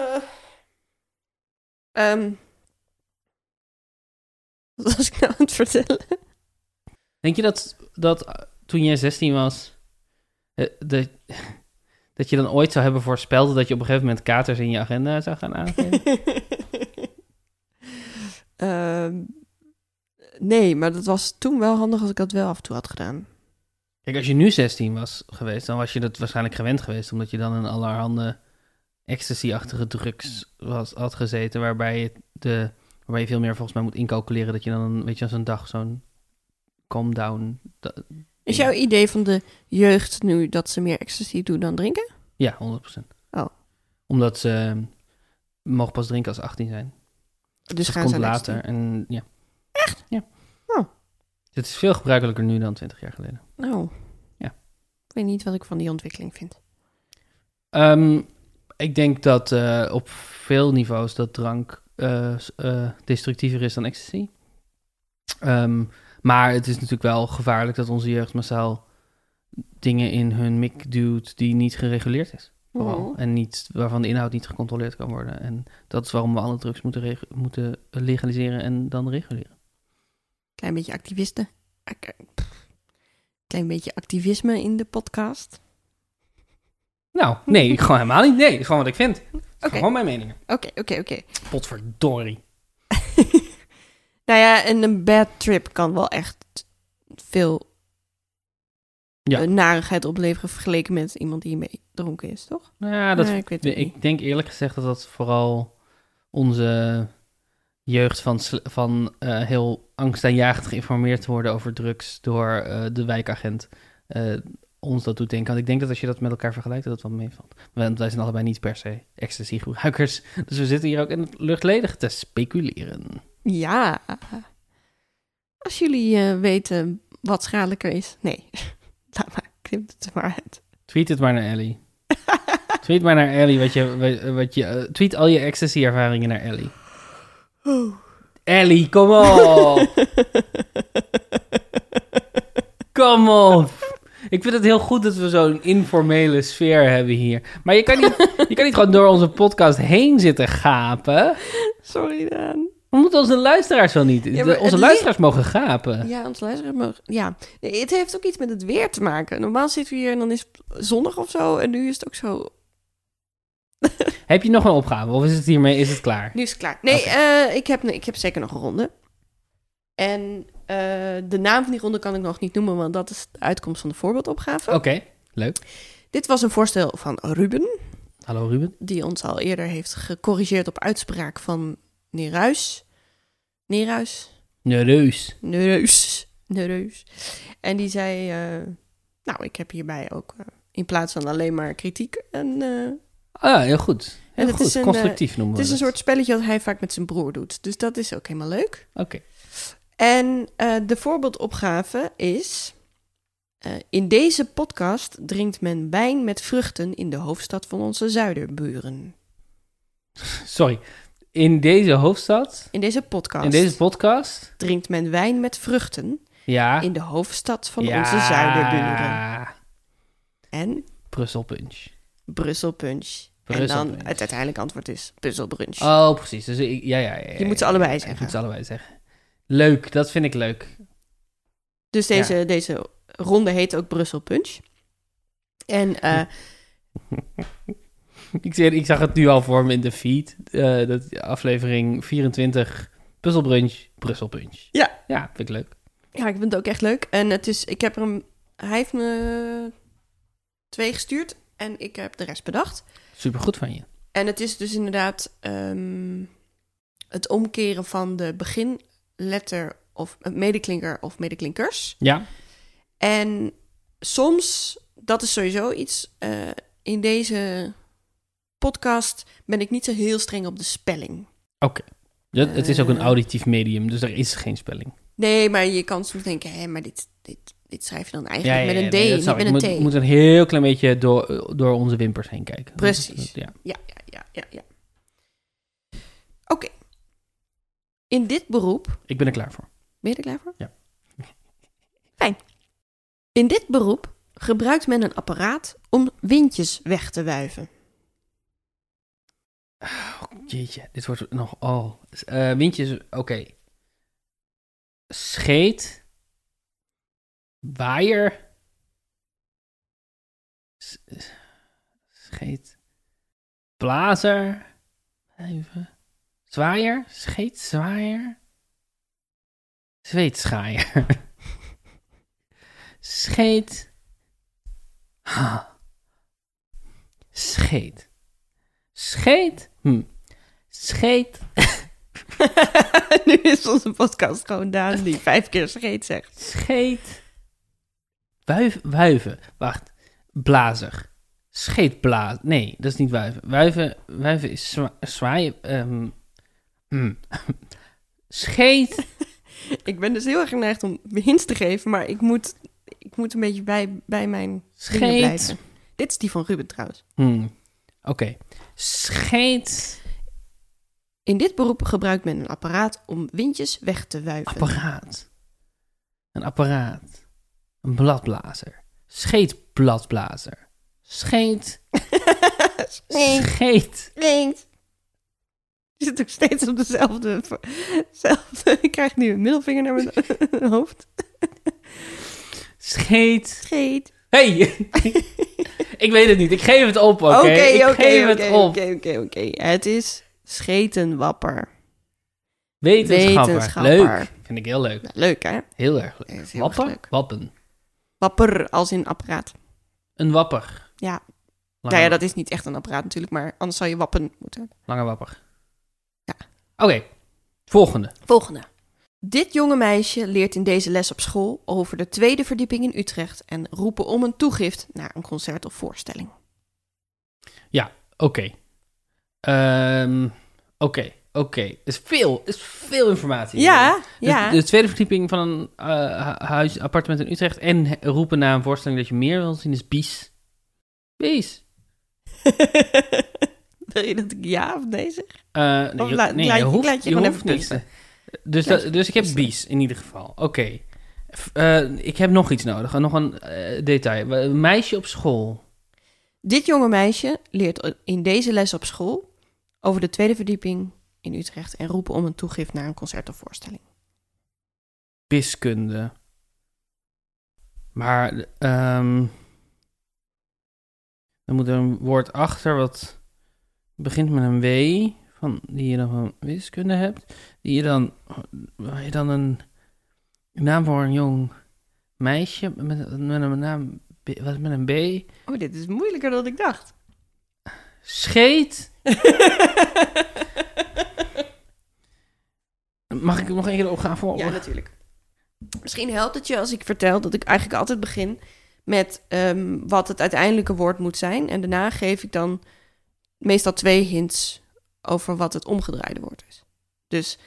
Ehm, wat was ik nou aan het vertellen? Denk je dat, dat eh, toen jij 16 was, eh, dat, dat je dan ooit zou hebben voorspeld dat je op een gegeven moment katers in je agenda zou gaan aangeven? Ehm, nee, maar dat was toen wel handig als ik dat wel af en toe had gedaan. Kijk, als je nu 16 was geweest, dan was je dat waarschijnlijk gewend geweest, omdat je dan in allerhande ecstasy-achtige drugs was, had gezeten, waarbij je, de, waarbij je veel meer volgens mij moet incalculeren dat je dan, weet je, als een dag zo'n calm down. da- Is Ja. jouw idee van de jeugd nu dat ze meer ecstasy doen dan drinken? ja, 100%. Oh. Omdat ze eh, mogen pas drinken als ze 18 zijn. Dus dat gaan komt ze aan later. ecstasy? En, ja. Echt? Ja. Oh. Het is veel gebruikelijker nu dan 20 jaar geleden. Nou, Ja. ik weet niet wat ik van die ontwikkeling vind. Ehm, ik denk dat eh, op veel niveaus dat drank eh, s- eh, destructiever is dan ecstasy. Ehm, maar het is natuurlijk wel gevaarlijk dat onze jeugd massaal dingen in hun mik duwt die niet gereguleerd is. Vooral. Oh. En niet, waarvan de inhoud niet gecontroleerd kan worden. En dat is waarom we alle drugs moeten, regu- moeten legaliseren en dan reguleren. Klein beetje activisten. Ak- pff. Klein beetje activisme in de podcast. Nou, nee, gewoon helemaal niet. Nee, gewoon wat ik vind. Oké. Gewoon mijn meningen. Oké, oké, oké. Potverdorie. nou ja, en een bad trip kan wel echt veel Ja. eh, narigheid opleveren vergeleken met iemand die mee dronken is, toch? Nou ja, dat Nee, ik weet het niet. Ik denk eerlijk gezegd dat dat vooral onze jeugd van, sl- van eh, heel angstaanjagend geïnformeerd worden over drugs door eh, de wijkagent eh, ons dat doet denken. Want ik denk dat als je dat met elkaar vergelijkt, dat dat wel meevalt. Want wij zijn allebei niet per se ecstasy-gebruikers. Dus we zitten hier ook in het luchtledige te speculeren. Ja. Als jullie eh, weten wat schadelijker is. Nee, laat maar. Knip het er maar uit. Tweet het maar naar Ellie. Tweet maar naar Ellie. Wat je, wat je, eh, tweet al je ecstasy-ervaringen naar Ellie. Oeh. Ellie, kom op! Kom op. Ik vind het heel goed dat we zo'n informele sfeer hebben hier. Maar je kan, niet, je kan niet gewoon door onze podcast heen zitten gapen. Sorry, Daan. We moeten onze luisteraars wel niet. Ja, maar de- onze het luisteraars mogen gapen. Ja, ons luisteraars mogen... Ja, Nee, het heeft ook iets met het weer te maken. Normaal zitten we hier en dan is het zonnig of zo. En nu is het ook zo... Heb je nog een opgave? Of is het hiermee is het klaar? Nu is het klaar. Nee, Oké. eh, ik, heb, nee ik heb zeker nog een ronde. En eh, de naam van die ronde kan ik nog niet noemen... want dat is de uitkomst van de voorbeeldopgave. Oké. Dit was een voorstel van Ruben... Hallo Ruben. die ons al eerder heeft gecorrigeerd op uitspraak van Neruis. Neruis? Nereus. Nereus. Nereus. En die zei, eh, nou, ik heb hierbij ook eh, in plaats van alleen maar kritiek. En, Ah, ja, heel goed. Heel En het goed. is een, Constructief noemen het we is een dat. soort spelletje dat hij vaak met zijn broer doet. Dus dat is ook helemaal leuk. Oké. En eh, de voorbeeldopgave is... eh, in deze podcast drinkt men wijn met vruchten in de hoofdstad van onze zuiderburen. Sorry. In deze hoofdstad, In deze podcast in deze podcast, drinkt men wijn met vruchten ja. in de hoofdstad van Ah. Ja. onze zuiderburen. En Brussel Punch. Brussel Punch. en Brussel dan Punch. het uiteindelijk antwoord is Brunch. Oh, precies. Dus ik, ja, ja, ja, ja, Je moet ze ja, allebei ja, zeggen. Ik moet ze allebei zeggen. Leuk, dat vind ik leuk. Dus deze, deze ronde heet ook Brussel Punch. En Hm. eh, Ik, zie- ik zag het nu al voor me in de feed. eh, dat aflevering 24, Puzzelbrunch, Brussel Punch. Ja. Ja, vind ik leuk. ja, ik vind het ook echt leuk. En het is, ik heb er hem, hij heeft me twee gestuurd en ik heb de rest bedacht. Supergoed van je. En het is dus inderdaad ehm, het omkeren van de beginletter of eh, medeklinker of medeklinkers. Ja. En soms, dat is sowieso iets. eh, in deze podcast ben ik niet zo heel streng op de spelling. Dat, het is ook een Eh. auditief medium, dus er is geen spelling. Nee, maar je kan soms denken: hé, maar dit, dit, dit schrijf je dan Ja, eigenlijk ja, ja, met nee, een dat D, snap niet ik. met Moet- een T. Moet een heel klein beetje door, door onze wimpers heen kijken. Precies. Ja. Ja, ja, ja, ja. ja. Oké. In dit beroep Ik ben er klaar voor. Ben je er klaar voor? Ja. Fijn. In dit beroep gebruikt men een apparaat om windjes weg te wuiven. Jeetje, dit wordt nog... Oh, Eh, windjes, oké. Scheet. Waaier. S- Scheet. Blazer. Even. Zwaaier. Scheet, zwaaier. Zweetschaaier. Scheet. Ha. Scheet. Scheet. Hm. Scheet. nu is onze podcast gewoon Daan die vijf keer scheet zegt. Scheet. Wuif, wuiven. Wacht. Blazer. Scheetblazer. Nee, dat is niet wuiven. Wuiven, wuiven is zwa zwaaien. ehm, hmm. Scheet. Ik ben dus heel erg geneigd om hints te geven, maar ik moet, ik moet een beetje bij, bij mijn dingen Scheet. blijven. Dit is die van Ruben trouwens. Hmm. Oké. Scheet. In dit beroep gebruikt men een apparaat om windjes weg te wuiven. Apparaat. Een apparaat. Een bladblazer. Scheetbladblazer. Scheet. Scheet. Scheet. Klinkt. Je zit ook steeds op dezelfde. dezelfde- Ik krijg nu een middelvinger naar mijn hoofd. Scheet. Scheet. Hey! ik weet het niet. Ik geef het op, oké? ik Oké, geef oké, het oké, op. oké, oké, oké. Het is schetenwapper. Wetenschapper. Wetenschapper. Leuk. Vind ik heel leuk. Nou, leuk hè? Heel erg Ja, leuk. is heel erg Wapper? leuk. Wappen. Wapper als in apparaat. Een wapper. Ja. Lange, Nou ja, dat is niet echt een apparaat natuurlijk, maar anders zou je wappen moeten. lange wapper. Ja. Oké. Volgende. Volgende. Dit jonge meisje leert in deze les op school over de tweede verdieping in Utrecht en roepen om een toegift naar een concert of voorstelling. Oké. Ehm, Oké. Oké. Is veel. Is veel informatie. Ja, De- ja. De, tweede verdieping van een eh, hu- huis, appartement in Utrecht en he- roepen na een voorstelling dat je meer wil zien is bies. Bies. dus- Wil je dat ik ja of nee zeg? Eh, nee, Of je- la- nee, laat- je ik hoeft, laat je je gewoon hoeft even niks. kiezen. Dus, Laat dat- je dus ik heb kiezen. bies in ieder geval. Oké. F- eh, ik heb nog iets nodig. Nog een eh, detail. Een meisje op school. Dit jonge meisje leert in deze les op school over de tweede verdieping in Utrecht en roepen om een toegift naar een concert of voorstelling. Wiskunde. Maar ehm er moet een woord achter wat begint met een W. Van, die je dan van wiskunde hebt. Die je dan, waar je dan een naam voor een jong meisje met, met een naam wat met een B. Oh, dit is moeilijker dan ik dacht. Scheet. Mag ik hem nog één keer opgaan voor? ja, natuurlijk. Misschien helpt het je als ik vertel dat ik eigenlijk altijd begin met ehm, wat het uiteindelijke woord moet zijn. En daarna geef ik dan meestal twee hints over wat het omgedraaide woord is. Dus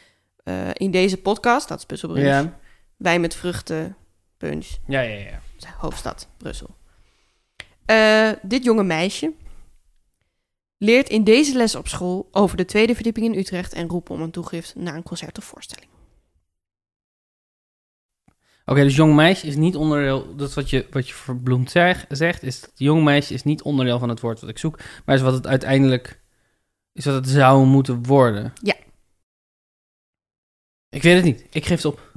eh, in deze podcast, dat is Puzzelbrunch, Ja. Wijn met vruchten, punch, Ja, ja, ja. hoofdstad, Brussel. Eh, dit jonge meisje leert in deze les op school over de tweede verdieping in Utrecht en roepen om een toegift naar een concert of voorstelling. Oké, dus jong meisje is niet onderdeel. Dat is wat je, wat je verbloemd zeg- zegt, is dat jong meisje is niet onderdeel van het woord wat ik zoek, maar is wat het uiteindelijk is wat het zou moeten worden. Ja. Ik weet het niet. Ik geef het op.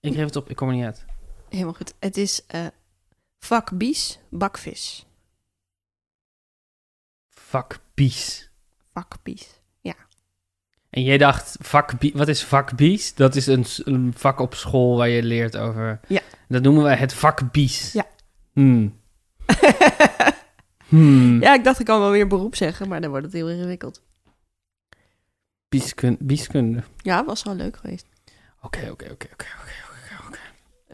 Ik geef het op. Ik kom er niet uit. Helemaal goed. Het is eh vakbies, bakvis. Vakbies. Vakbies. En jij dacht, vakbies, wat is vakbies? Dat is een, s- een vak op school waar je leert over. Ja. Dat noemen wij het vakbies. Ja. Hmm. Hmm. ja, ik dacht ik kan wel weer beroep zeggen, maar dan wordt het heel ingewikkeld. Bieskun- bieskunde. Ja, was wel leuk geweest. Oké, oké, oké, oké, oké, oké, oké.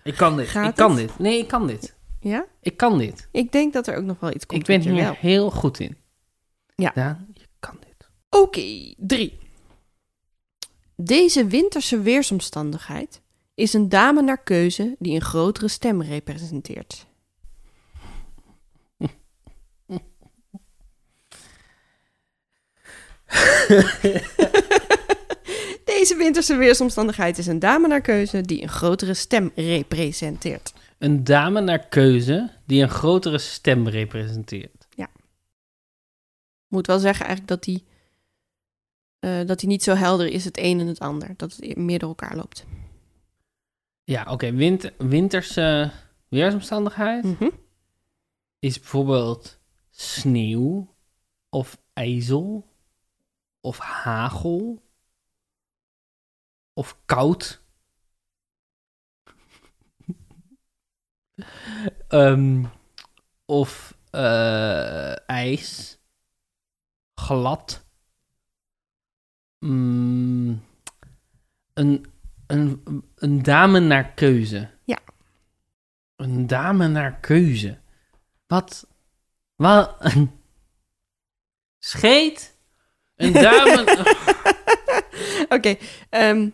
Ik kan dit. Gaat ik kan het? dit. Nee, ik kan dit. Ja? Ik kan dit. Ik denk dat er ook nog wel iets komt. ik ben wat je hier wel- heel goed in. Ja. Daan, je kan dit. Oké, drie. Deze winterse weersomstandigheid is een dame naar keuze die een grotere stem representeert. Deze winterse weersomstandigheid is een dame naar keuze die een grotere stem representeert. Een dame naar keuze die een grotere stem representeert. Moet wel zeggen eigenlijk dat die, eh, dat die niet zo helder is het een en het ander. Dat het meer door elkaar loopt. Ja, oké. wint- winterse weersomstandigheid Mhm. is bijvoorbeeld sneeuw of ijzel of hagel of koud. Ehm, of eh, ijs, glad. Mm, een, een, een dame naar keuze. Ja. Een dame naar keuze. Wat? Wat? Scheet? Een dame... Oké, ehm,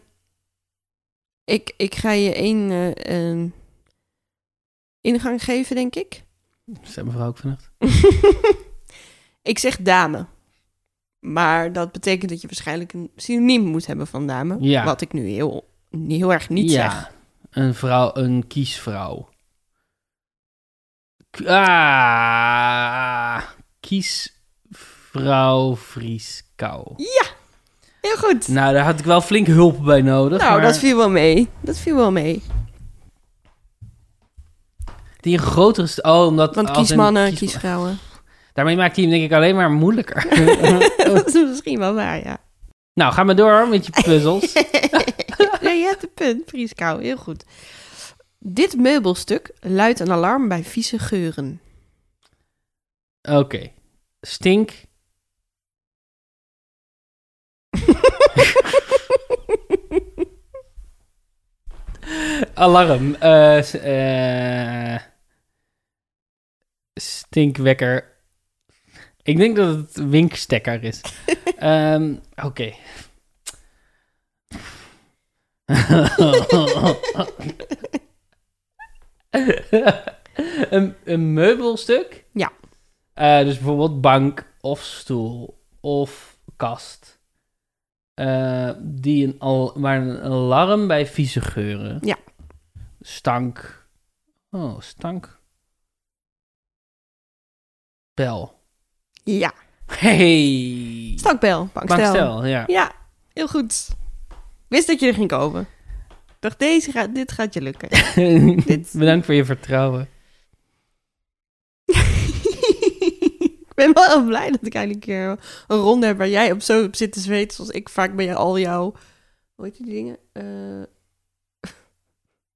ik, ik ga je één eh, ehm, ingang geven, denk ik. Zet mevrouw ook vannacht. ik zeg dame. Maar dat betekent dat je waarschijnlijk een synoniem moet hebben van dame. Ja. Wat ik nu heel, heel erg niet ja. zeg. Een vrouw, een kiesvrouw. K- Ah, kiesvrouw Vrieskou. Heel goed. Nou, daar had ik wel flink hulp bij nodig. nou, maar dat viel wel mee. Dat viel wel mee. Die een grotere... st- Oh, omdat... Want als kies in mannen, kies- kies vrouwen. Daarmee maakt hij hem denk ik alleen maar moeilijker. dat is misschien wel waar, ja. nou, ga maar door met je puzzels. ja, je hebt een punt, Prieskou. Heel goed. Dit meubelstuk luidt een alarm bij vieze geuren. Oké. Stink. Alarm. Eh, s- eh, stinkwekker. Ik denk dat het winkstekker is. Ehm, Oké. een, een meubelstuk? Ja. Eh, dus bijvoorbeeld bank of stoel of kast. Eh, die een al, maar een alarm bij vieze geuren. Ja. Stank. Oh, stank. Bel. ja, Hey. stakbel, bankstel. Bankstel, ja. Ja, heel goed. Wist dat je er ging komen. Ik dacht, deze gaat, dit gaat je lukken. Dit- Bedankt voor je vertrouwen. ik ben wel heel blij dat ik eindelijk een keer een ronde heb waar jij op zo op zit te zweten. Zoals ik vaak bij jou- al jouw... Hoe heet die dingen? Eh,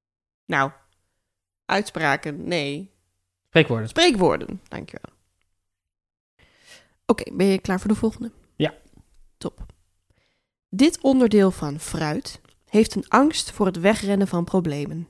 nou, uitspraken, nee. Spreekwoorden. Spreekwoorden, dankjewel. Oké, ben je klaar voor de volgende? Ja. Top. Dit onderdeel van fruit heeft een angst voor het wegrennen van problemen.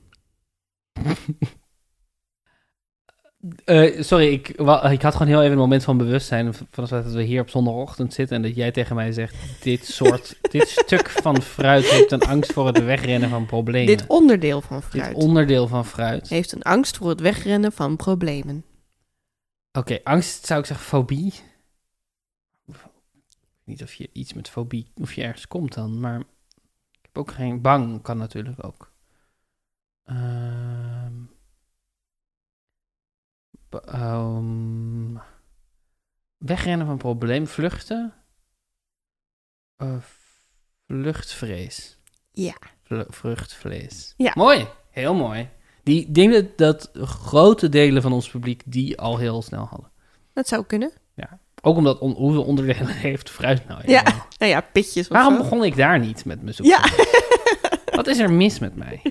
Eh, sorry, ik, wa- ik had gewoon heel even een moment van bewustzijn. v- Van het feit dat we hier op zondagochtend zitten. En dat jij tegen mij zegt: Dit soort. dit stuk van fruit heeft een angst voor het wegrennen van problemen. Dit onderdeel van Dit fruit onderdeel van fruit. heeft een angst voor het wegrennen van problemen. Oké, angst zou ik zeggen fobie. Ik weet Niet of je iets met fobie, of je ergens komt dan, maar ik heb ook geen bang, kan natuurlijk ook. Ehm. Ba- ehm, wegrennen van probleem, vluchten. Eh, vluchtvrees. Ja. Vlu- vruchtvlees. Ja. Mooi, heel mooi. Die ik denk dat, dat grote delen van ons publiek die al heel snel hadden. Dat zou kunnen. Ook omdat on- hoeveel onderdelen heeft fruit nou? Ja. helemaal? Nou ja, pitjes of Waarom zo. begon ik daar niet met mijn Ja. zoektocht? Wat is er mis met mij?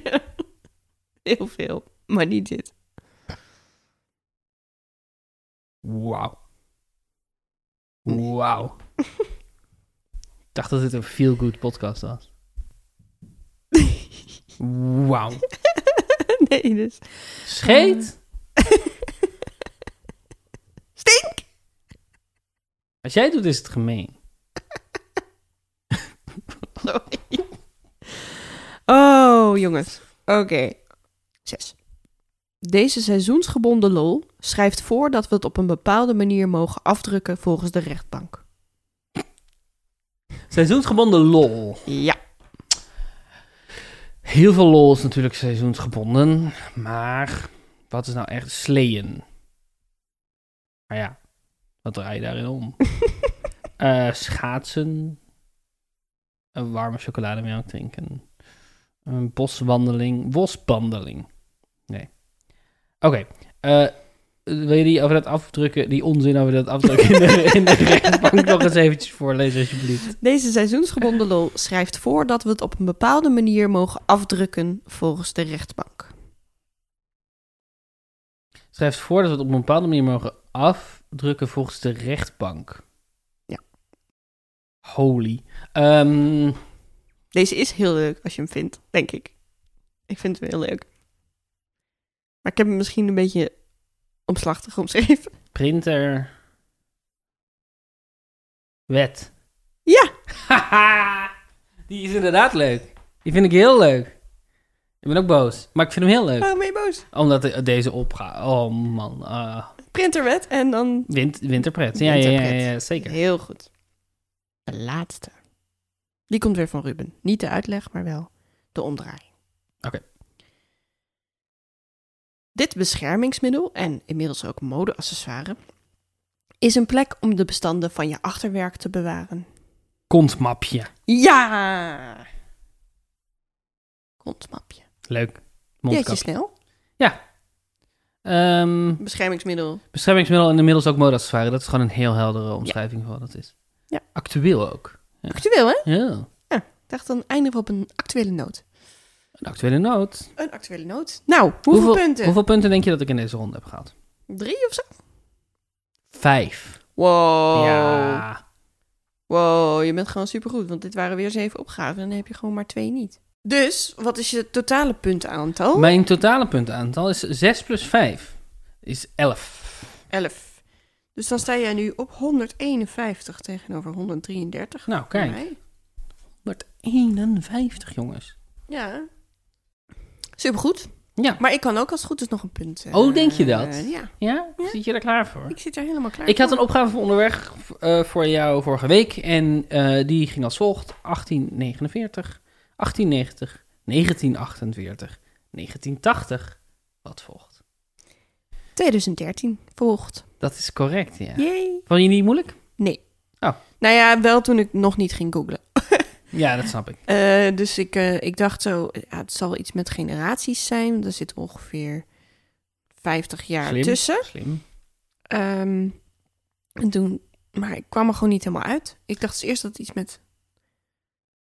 Heel veel. Maar niet dit. Wauw. Wauw. Ik dacht dat dit een feel-good podcast was. Wauw. nee, dus... Mm. Scheet. Stink! Als jij het doet, is het gemeen. Sorry. Oh, jongens. Oké. Zes. Deze seizoensgebonden lol schrijft voor dat we het op een bepaalde manier mogen afdrukken volgens de rechtbank. Seizoensgebonden lol. Ja. Heel veel lol is natuurlijk seizoensgebonden. Maar wat is nou echt sleeën? Maar ja, wat draai je daarin om? Eh, schaatsen. Een warme chocolademelk drinken. Een boswandeling. Boswandeling. Nee. Oké. eh, wil je die over dat afdrukken, die onzin over dat afdrukken in de, in de rechtbank nog eens eventjes voorlezen, alsjeblieft? Deze seizoensgebonden lol schrijft voor dat we het op een bepaalde manier mogen afdrukken volgens de rechtbank. Schrijft voor dat we het op een bepaalde manier mogen afdrukken volgens de rechtbank. Ja. Holy. Ehm, Deze is heel leuk als je hem vindt, denk ik. Ik vind hem heel leuk. Maar ik heb hem misschien een beetje omslachtig omschreven. printer. Wet. Ja! Haha, die is inderdaad leuk. Die vind ik heel leuk. Ik ben ook boos, maar ik vind hem heel leuk. Waarom ben je boos? Omdat de- deze opgaat. Oh man, ah, Printerwet en dan... wint- winterpret. Ja, ja, ja, ja, ja, zeker. Heel goed. De laatste. Die komt weer van Ruben. Niet de uitleg, maar wel de omdraaiing. Oké. Dit beschermingsmiddel, en inmiddels ook modeaccessoire, is een plek om de bestanden van je achterwerk te bewaren. Kontmapje. Ja! Kontmapje. Leuk. Jeetje Mondkapje. snel. Ehm, Beschermingsmiddel. beschermingsmiddel en inmiddels ook modeaccessoire. Dat is gewoon een heel heldere omschrijving van wat het is. Ja. Actueel ook. Actueel, hè? Ja. Ik dacht dan eindigen we op een actuele noot. Een actuele noot. Een actuele noot. Nou, hoeveel, punten? Hoeveel punten denk je dat ik in deze ronde heb gehaald? Drie of zo? Vijf. Wow. Ja. Wow, je bent gewoon supergoed. Want dit waren weer zeven opgaven. En dan heb je gewoon maar twee niet. Dus, wat is je totale puntenaantal? Mijn totale puntaantal is 6 plus 5. Is 11. Elf. Dus dan sta jij nu op 151 tegenover 133. Nou, voor kijk. mij. 151, jongens. Ja. Supergoed. Ja. Maar ik kan ook als het goed is nog een punt. eh, Oh, denk je dat? eh, ja, Ja? Ja. Zit je er klaar voor? ik zit er helemaal klaar Ik had voor. een opgave voor onderweg eh, voor jou vorige week. En eh, die ging als volgt. 1849, 1890, 1948, 1980. Wat volgt? 2013 volgt. Dat is correct, ja. Yay. Vond je niet moeilijk? Nee. Oh. Nou ja, wel toen ik nog niet ging googlen. Ja, dat snap ik. Eh, dus ik, eh, ik dacht zo, ja, het zal iets met generaties zijn. want Er zit ongeveer 50 jaar Slim. tussen. Slim. Ehm, en toen, maar ik kwam er gewoon niet helemaal uit. Ik dacht dus eerst dat het iets met,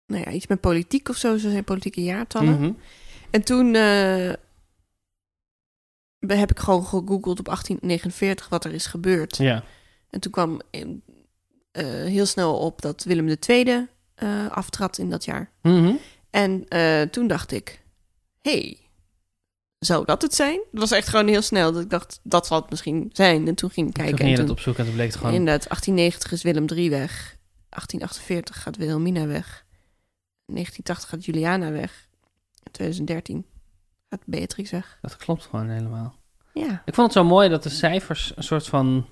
nou ja, iets met politiek of zo. Zo zijn politieke jaartallen. Mhm. En toen eh, be- heb ik gewoon gegoogeld op 1849 wat er is gebeurd. Ja. En toen kwam eh, eh, heel snel op dat Willem II eh aftrad in dat jaar. Mhm. En eh, toen dacht ik, hey, zou dat het zijn? Dat was echt gewoon heel snel. Dat ik dacht, dat zal het misschien zijn. En toen ging ik kijken. Toen ging je en dat opzoeken en toen bleek het gewoon... Inderdaad, 1890 is Willem III weg. 1848 gaat Wilhelmina weg. 1980 gaat Juliana weg. En 2013 gaat Beatrix weg. Dat klopt gewoon helemaal. Ja. Ik vond het zo mooi dat de cijfers een soort van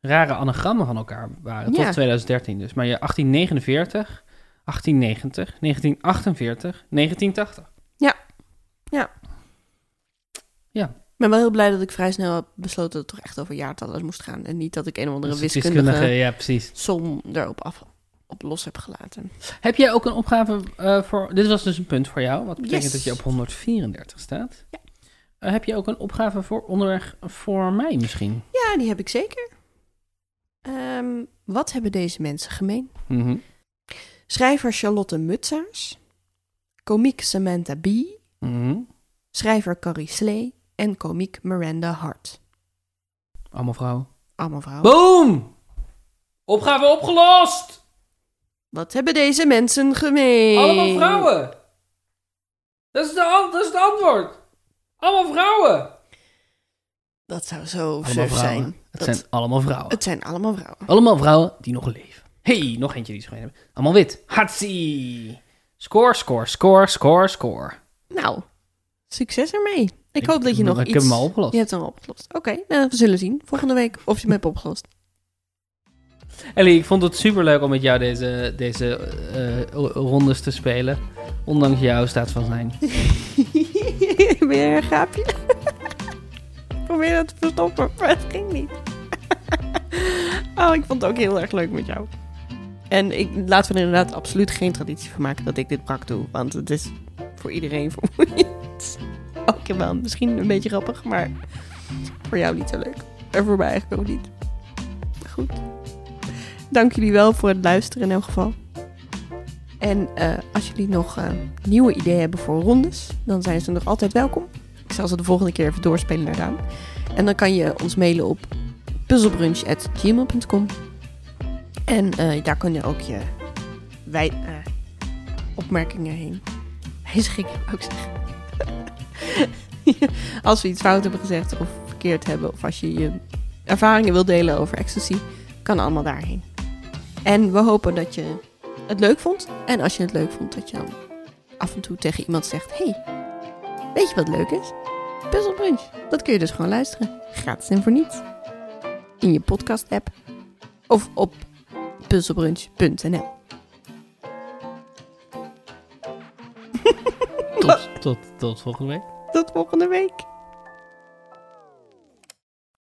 rare anagrammen van elkaar waren. Ja. Tot 2013 dus. Maar je 1849, 1890, 1948, 1980. Ik ben wel heel blij dat ik vrij snel heb besloten dat het toch echt over jaartallen moest gaan. En niet dat ik een of andere Dat is wiskundige, Dus Ja, precies. som erop af, op los heb gelaten. Heb jij ook een opgave eh, voor... Dit was dus een punt voor jou. Wat betekent Yes. dat je op 134 staat. Eh, heb je ook een opgave voor onderweg voor mij misschien? Ja, die heb ik zeker. Ehm, wat hebben deze mensen gemeen? Mhm. Schrijver Charlotte Mutsaars, komiek Samantha Bee, Mhm. schrijver Carrie Slee en komiek Miranda Hart. Allemaal vrouwen. Allemaal vrouwen. Boom! Opgave opgelost! Wat hebben deze mensen gemeen? Allemaal vrouwen! Dat is, de an- dat is het antwoord! Allemaal vrouwen! Dat zou zo suf zijn. Het Dat- zijn allemaal vrouwen. Het zijn allemaal vrouwen. Allemaal vrouwen die nog leven. hey, nog eentje die ze gewoon hebben. Allemaal wit. Hatsi! Score, score, score, score, score. Nou, succes ermee. Ik, hoop dat je nog ik iets... heb hem al opgelost. Je hebt hem al opgelost. Oké, nou, we zullen zien volgende week of je hem hebt opgelost. Ellie, ik vond het superleuk om met jou deze, deze eh, eh, rondes te spelen. Ondanks jouw staat van zijn. ben jij een gaapje? Ik Probeer dat te verstoppen, maar het ging niet. oh, ik vond het ook heel erg leuk met jou. En ik, laten we er inderdaad absoluut geen traditie van maken dat ik dit brak doe. Want het is voor iedereen vermoeiend. Ook wel, misschien een beetje grappig, maar voor jou niet zo leuk. En voor mij eigenlijk ook niet. Goed. Dank jullie wel voor het luisteren in elk geval. En eh, als jullie nog eh, nieuwe ideeën hebben voor rondes, dan zijn ze nog altijd welkom. Ik zal ze de volgende keer even doorspelen naar Daan. En dan kan je ons mailen op puzzelbrunch.gmail.com En eh, daar kun je ook je wij, eh, opmerkingen heen. Wijzigingen, wou ik zeggen. als we iets fout hebben gezegd of verkeerd hebben... of als je je ervaringen wilt delen over ecstasy, kan allemaal daarheen. En we hopen dat je het leuk vond. En als je het leuk vond, dat je dan af en toe tegen iemand zegt: hey, weet je wat leuk is? Puzzle Brunch. Dat kun je dus gewoon luisteren. Gratis en voor niets. In je podcast-app of op puzzlebrunch.nl. Tot, tot, tot volgende week. Tot volgende week.